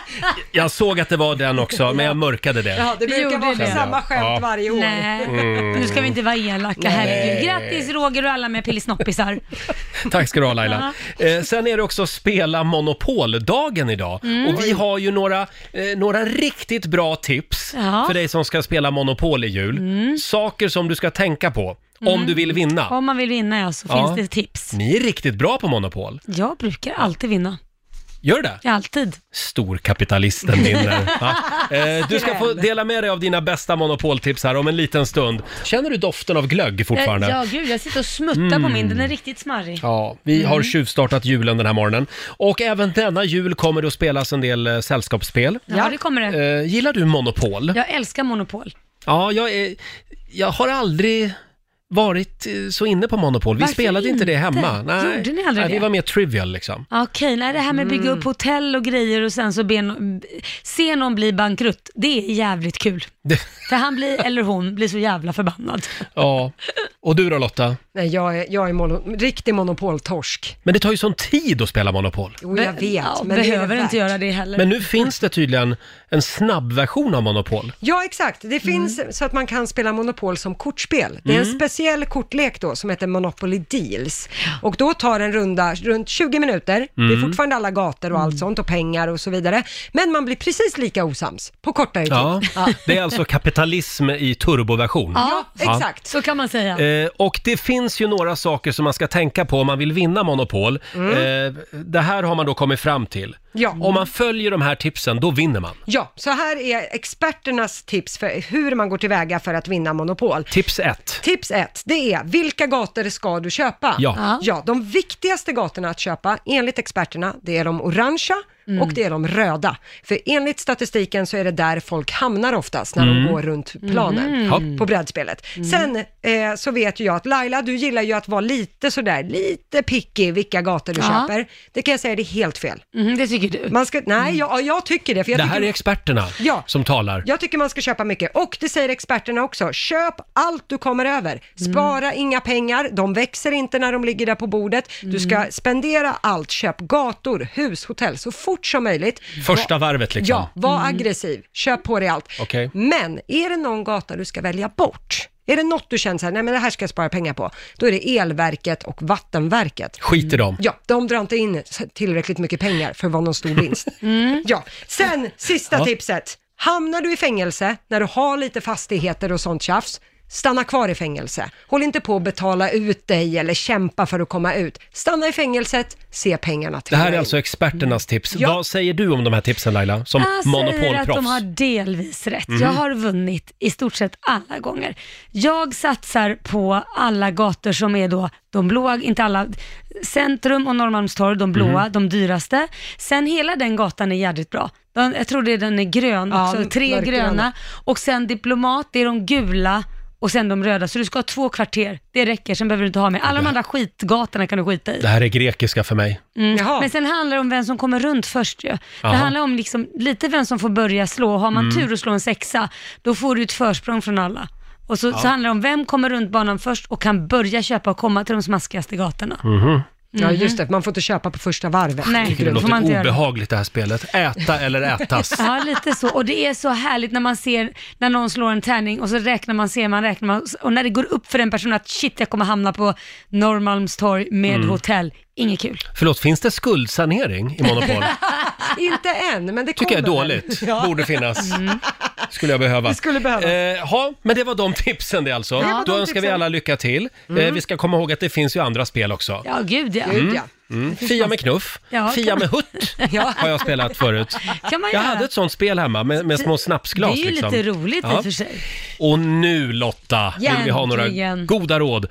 A: jag såg att det var den också, men jag mörkade det.
B: Ja, det brukar vara
A: det.
B: samma skämt
A: Ja.
B: varje år.
D: Nej,
A: Mm.
D: <laughs> nu ska vi inte vara elaka.
A: Nej.
D: Herregud. Grattis Roger och alla med pillisnoppisar.
A: Tack ska du ha Laila. Eh, sen är det också spela monopoldagen idag.
D: Mm.
A: Och vi har ju några, eh, några riktigt bra tips
D: Ja.
A: för dig som ska spela monopol i jul. Saker som du ska tänka på om
D: Mm.
A: du vill vinna.
D: Om man vill vinna ja, så
A: Ja.
D: finns det tips.
A: Ni är riktigt bra på monopol.
D: Jag brukar alltid vinna.
A: Gör det?
D: Alltid.
A: Storkapitalisten vinner. Va? Eh, du ska få dela med dig av dina bästa monopoltips här om en liten stund. Känner du doften av glögg fortfarande?
D: Ja, gud, jag sitter och smuttar på
A: Mm.
D: min. Den är riktigt smarrig.
A: Ja, vi
D: Mm.
A: har tjuvstartat julen den här morgonen. Och även denna jul kommer det att spelas en del eh, sällskapsspel.
D: Ja, det kommer det.
A: Eh, gillar du Monopol? Ja,
D: Jag älskar Monopol.
A: jag, är, jag har aldrig varit eh, så inne på Monopol. Vi
D: Varför
A: spelade inte det
D: inte?
A: hemma.
D: Gjorde ni aldrig
A: Nej, vi
D: det?
A: var mer trivial liksom.
D: Ja, Okej, nej, det här med att bygga upp hotell och grejer och sen så be no- b- se någon bli bankrutt, det är jävligt kul. För han blir, eller hon, blir så jävla förbannad.
A: Ja. Och du då Lotta?
B: Nej, jag är, jag är mono, riktig monopoltorsk.
A: Men det tar ju sån tid att spela Monopol.
B: Jo, jag
D: Be-
B: vet.
D: ja,
B: men det är
D: behöver
B: det värt.
D: inte göra det heller.
A: Men nu finns det tydligen en snabbversion av Monopol.
B: Ja, exakt.
D: Mm.
B: Det finns så att man kan spela Monopol som kortspel. Det är en
A: Mm.
B: speciell kortlek då som heter Monopoly Deals. Och då tar en runda runt 20 minuter. Det är
D: Mm.
B: fortfarande alla gator och allt sånt och pengar och så vidare. Men man blir precis lika osams på kortare tid.
A: Ja, det är alltså kapitalism i turboversion.
D: Ja, exakt. Så kan man säga.
A: Eh, och det finns ju några saker som man ska tänka på om man vill vinna Monopol.
B: Mm.
A: Eh, det här har man då kommit fram till.
B: Ja.
A: Om man följer de här tipsen, då vinner man.
B: Ja, så här är experternas tips för hur man går tillväga för att vinna Monopol.
A: Tips 1.
B: Tips ett, det är vilka gator ska du köpa?
A: Ja. Ja.
B: ja de viktigaste gatorna att köpa enligt experterna, det är de orangea,
D: Mm.
B: och det är de röda. För enligt statistiken så är det där folk hamnar oftast när
P: Mm.
B: de går runt planen
P: Mm. Ja.
B: på brädspelet.
D: Mm.
B: Sen eh, så vet ju jag att Laila, du gillar ju att vara lite sådär, lite picky vilka gator du
D: Ja. Mm,
B: köper. Det kan jag säga, det är helt fel.
D: det tycker du? Mm.
B: Man ska, nej, jag, ja, jag tycker det. För jag
A: Det
B: tycker,
A: här är experterna
B: Ja.
A: som talar.
B: jag tycker man ska köpa mycket och det säger experterna också. Köp allt du kommer över. Spara inga pengar, de växer inte när de ligger där på bordet. Du ska spendera allt, köp gator, hus, hotell så fort som möjligt.
A: Första varvet liksom.
B: Ja, var
A: Mm.
B: aggressiv, köp på dig allt.
A: Okej.
B: Men är det någon gata du ska välja bort? Är det något du känner så här, nej men det här ska jag spara pengar på, då är det elverket och vattenverket. Mm.
A: Skit i dem.
B: Ja, de drar inte in tillräckligt mycket pengar för att vara
A: <laughs>
B: någon stor vinst. Ja, sen sista
A: Mm. Ja.
B: tipset. Hamnar du i fängelse när du har lite fastigheter och sånt tjafs, stanna kvar i fängelse. Håll inte på att betala ut dig eller kämpa för att komma ut. Stanna i fängelset, se pengarna till
A: Det här är alltså experternas tips.
B: Ja.
A: Vad säger du om de här tipsen Laila, som
D: jag säger att de
A: monopolproffs?
D: har delvis rätt.
A: Mhm.
D: Jag har vunnit i stort sett alla gånger. Jag satsar på alla gator som är då de blåa, inte alla, Centrum och Norrmalmstorg, de blåa,
P: Mhm.
D: de dyraste. Sen hela den gatan är jävligt bra. Den, jag tror det är den är grön
P: Ja,
D: också, tre
P: mörkgröna.
D: gröna. Och sen Diplomat, det är de gula och sen de röda. Så du ska ha två kvarter, det räcker, sen behöver du inte ha mer. Alla de andra skitgatorna kan du skita i.
A: Det här är grekiska för mig.
D: Mm.
B: Jaha.
D: Men sen handlar det om vem som kommer runt först ju.
A: Jaha.
D: Det handlar om liksom, lite vem som får börja slå. Har man
A: Mm.
D: tur och slår en sexa, då får du ett försprång från alla. Och så,
A: Ja.
D: så handlar det om vem kommer runt banan först och kan börja köpa och komma till de smaskigaste gatorna.
B: Ja, just
D: Mhm.
B: det. Man får inte köpa på första varvet.
D: Nej.
A: Tycker det
D: Får man inte
A: låter
D: göra.
A: obehagligt det här spelet. Äta eller ätas.
D: <laughs> Ja, lite så. Och det är så härligt när man ser, när någon slår en tärning och så räknar man, ser man, räknar man. Och när det går upp för den personen att shit, jag kommer hamna på Norrmalmstorg med
A: Mm.
D: hotell. Inget kul.
A: Förlåt, finns det skuldsanering i
D: <laughs>
A: monopol?
B: <laughs> Inte än, men det
A: tycker jag är
B: kommer väl.
A: dåligt.
B: Ja.
A: Borde finnas.
B: Mm.
A: Skulle jag behöva.
B: Det skulle behövas.
A: Eh, ja, men det var de tipsen det alltså.
D: Det var
A: Då
D: de
A: önskar vi
D: tipsen.
A: alla lycka till. Eh,
D: Mm.
A: vi ska komma ihåg att det finns ju andra spel också.
D: Ja, gud ja.
A: Mm. Mm.
D: Det finns
A: Fia
D: massa-
A: med knuff,
D: Ja,
A: Fia
D: kan-
A: med hutt
D: <laughs> Ja.
A: har jag spelat förut.
D: Kan man
A: jag
D: göra.
A: hade ett sånt spel hemma med, med små snapsglas.
D: Det är ju
A: liksom.
D: lite roligt i
A: Ja.
D: och för sig.
A: Och nu Lotta, vill vi ha några
B: Äntligen.
A: goda råd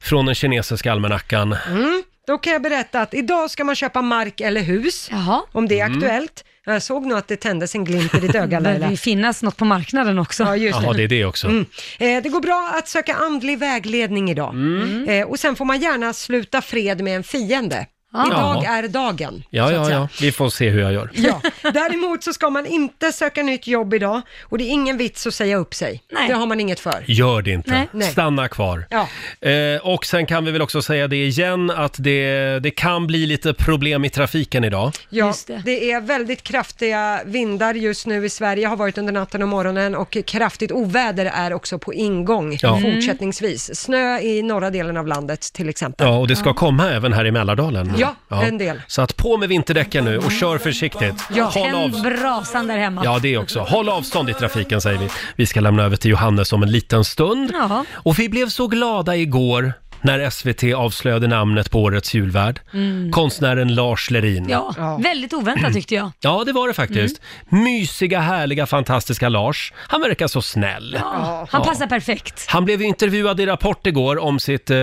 A: från den kinesiska almanackan.
B: Mm. Då kan jag berätta att idag ska man köpa mark eller hus, om det är
A: Mm.
B: aktuellt. Jag såg nog att det tändes en glimt
D: <laughs>
B: i ditt öga
D: Det behöver
B: Laila.
D: ju finnas något på marknaden också. Ja,
B: just
A: Jaha, det är det också.
B: Mm. Eh, det går bra att söka andlig vägledning idag.
A: Mm.
D: Mm.
B: Eh, och sen får man gärna sluta fred med en fiende. Idag
A: Jaha.
B: är dagen.
A: Ja,
B: så att
A: ja,
B: säga.
A: ja. Vi får se hur jag gör.
B: Ja, däremot så ska man inte söka nytt jobb idag och det är ingen vits att säga upp sig. Det har man inget för.
A: Gör det inte.
B: Nej. Nej.
A: Stanna kvar.
B: Ja.
A: Eh, och sen kan vi väl också säga det igen att det, det kan bli lite problem i trafiken idag.
B: Ja, det. är väldigt kraftiga vindar just nu i Sverige, har varit under natten och morgonen och kraftigt oväder är också på ingång
A: Ja. Mm.
B: fortsättningsvis. Snö i norra delen av landet till exempel.
A: Ja, och det ska komma även här i Mälardalen.
B: Ja, en del.
A: Så att på med vinterdäcken nu och kör försiktigt.
D: Ja,
A: Håll
D: en
A: av...
D: brasan där hemma.
A: Ja, det också. Håll avstånd i trafiken säger vi. Vi ska lämna över till Johannes om en liten stund.
D: Ja.
A: Och vi blev så glada igår när SVT avslöjade namnet på årets julvärd.
D: Mm.
A: Konstnären Lars Lerin.
D: Ja, väldigt oväntat tyckte jag.
A: Ja, det var det faktiskt. Mysiga, härliga, fantastiska Lars. Han verkar så snäll.
D: Ja, han
A: Ja.
D: passar perfekt.
A: Han blev ju intervjuad i Rapport igår om sitt eh,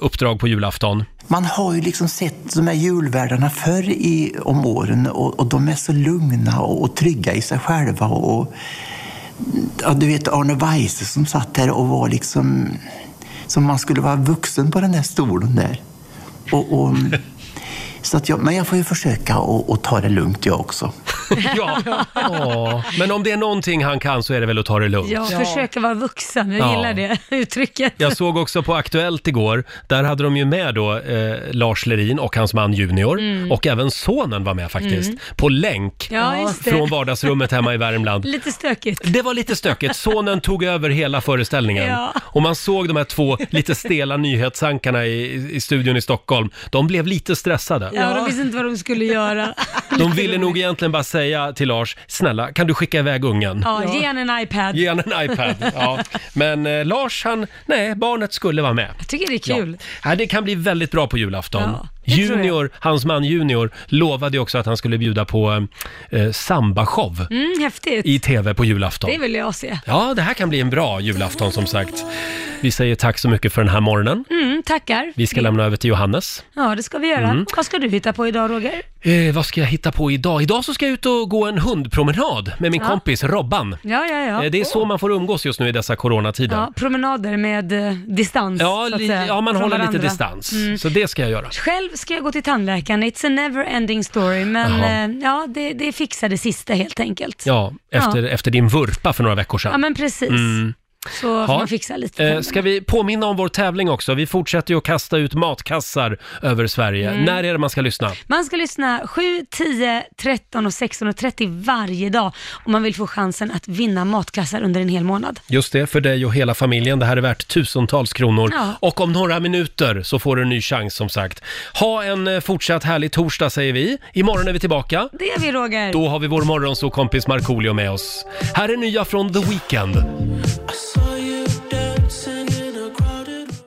A: uppdrag på
D: <laughs>
A: julafton.
H: Man har ju liksom sett de här julvärdarna förr i, om åren och, och de är så lugna och, och trygga i sig själva. Och, och, ja, du vet Arne Weise som satt där och var liksom som man skulle vara vuxen på den där stolen där. Och, och, så att jag, men jag får ju försöka och, och ta det lugnt jag också.
A: ja. ja, men om det är någonting han kan så är det väl att ta det lugnt.
D: Jag försöker vara vuxen, jag
A: Ja.
D: gillar det <laughs> uttrycket.
A: Jag såg också på Aktuellt igår, där hade de ju med då eh, Lars Lerin och hans man Junior
D: Mm.
A: och även sonen var med faktiskt,
D: Mm.
A: på länk
D: Ja, just det.
A: från vardagsrummet hemma i Värmland.
D: Lite stökigt.
A: Det var lite stökigt. Sonen tog över hela föreställningen.
D: Ja.
A: Och man såg de här två lite stela nyhetsankarna i, i studion i Stockholm. De blev lite stressade.
D: Ja, de visste inte vad de skulle göra.
A: <laughs> De ville nog egentligen bara säga till Lars, snälla kan du skicka iväg ungen?
D: Ja, ge han en iPad.
A: Ge han en iPad. Ja. Men eh, Lars, han, nej, barnet skulle vara med.
D: Jag tycker det är kul.
A: Ja. Ja, det kan bli väldigt bra på julafton.
D: Ja, det tror jag.
A: Junior, hans man Junior, lovade ju också att han skulle bjuda på eh, sambashow
D: Mm, häftigt.
A: i tv på julafton.
D: Det vill jag se.
A: Ja, det här kan bli en bra julafton som sagt. Vi säger tack så mycket för den här morgonen.
D: Mm, tackar.
A: Vi ska lämna över till Johannes.
D: Ja, det ska vi göra.
A: Mm.
D: Vad ska du hitta på idag, Roger?
A: Eh, vad ska jag hitta på idag? Idag så ska jag ut och gå en hundpromenad med min
D: Ja.
A: kompis Robban.
D: Ja, ja, ja.
A: Eh, det är så man får umgås just nu i dessa coronatider.
D: Ja, promenader med eh, distans.
A: Ja,
D: så att
A: li-
D: säga,
A: ja, man
D: från
A: håller lite
D: varandra.
A: distans.
D: Mm.
A: Så det ska jag göra.
D: Själv ska jag gå till tandläkaren, it's a never ending story, men
A: Jaha.
D: eh, ja, det, det fixar det sista helt enkelt.
A: Ja, efter, efter din vurpa för några veckor sedan.
D: Ja, men precis.
A: Mm.
D: Så får
A: Ja.
D: man fixa lite.
A: Eh, ska vi påminna om vår tävling också? Vi fortsätter ju att kasta ut matkassar över Sverige.
D: Mm.
A: När är det man ska lyssna?
D: Man ska lyssna 7, 10, 13 och 16.30 varje dag om man vill få chansen att vinna matkassar under en hel månad.
A: Just det, för dig och hela familjen. Det här är värt tusentals kronor.
D: Ja.
A: Och om några minuter så får du en ny chans som sagt. Ha en eh, fortsatt härlig torsdag säger vi. Imorgon är vi tillbaka.
D: Det är vi Roger.
A: Då har vi vår morgonsåkompis Markoolio med oss. Här är nya från The Weeknd.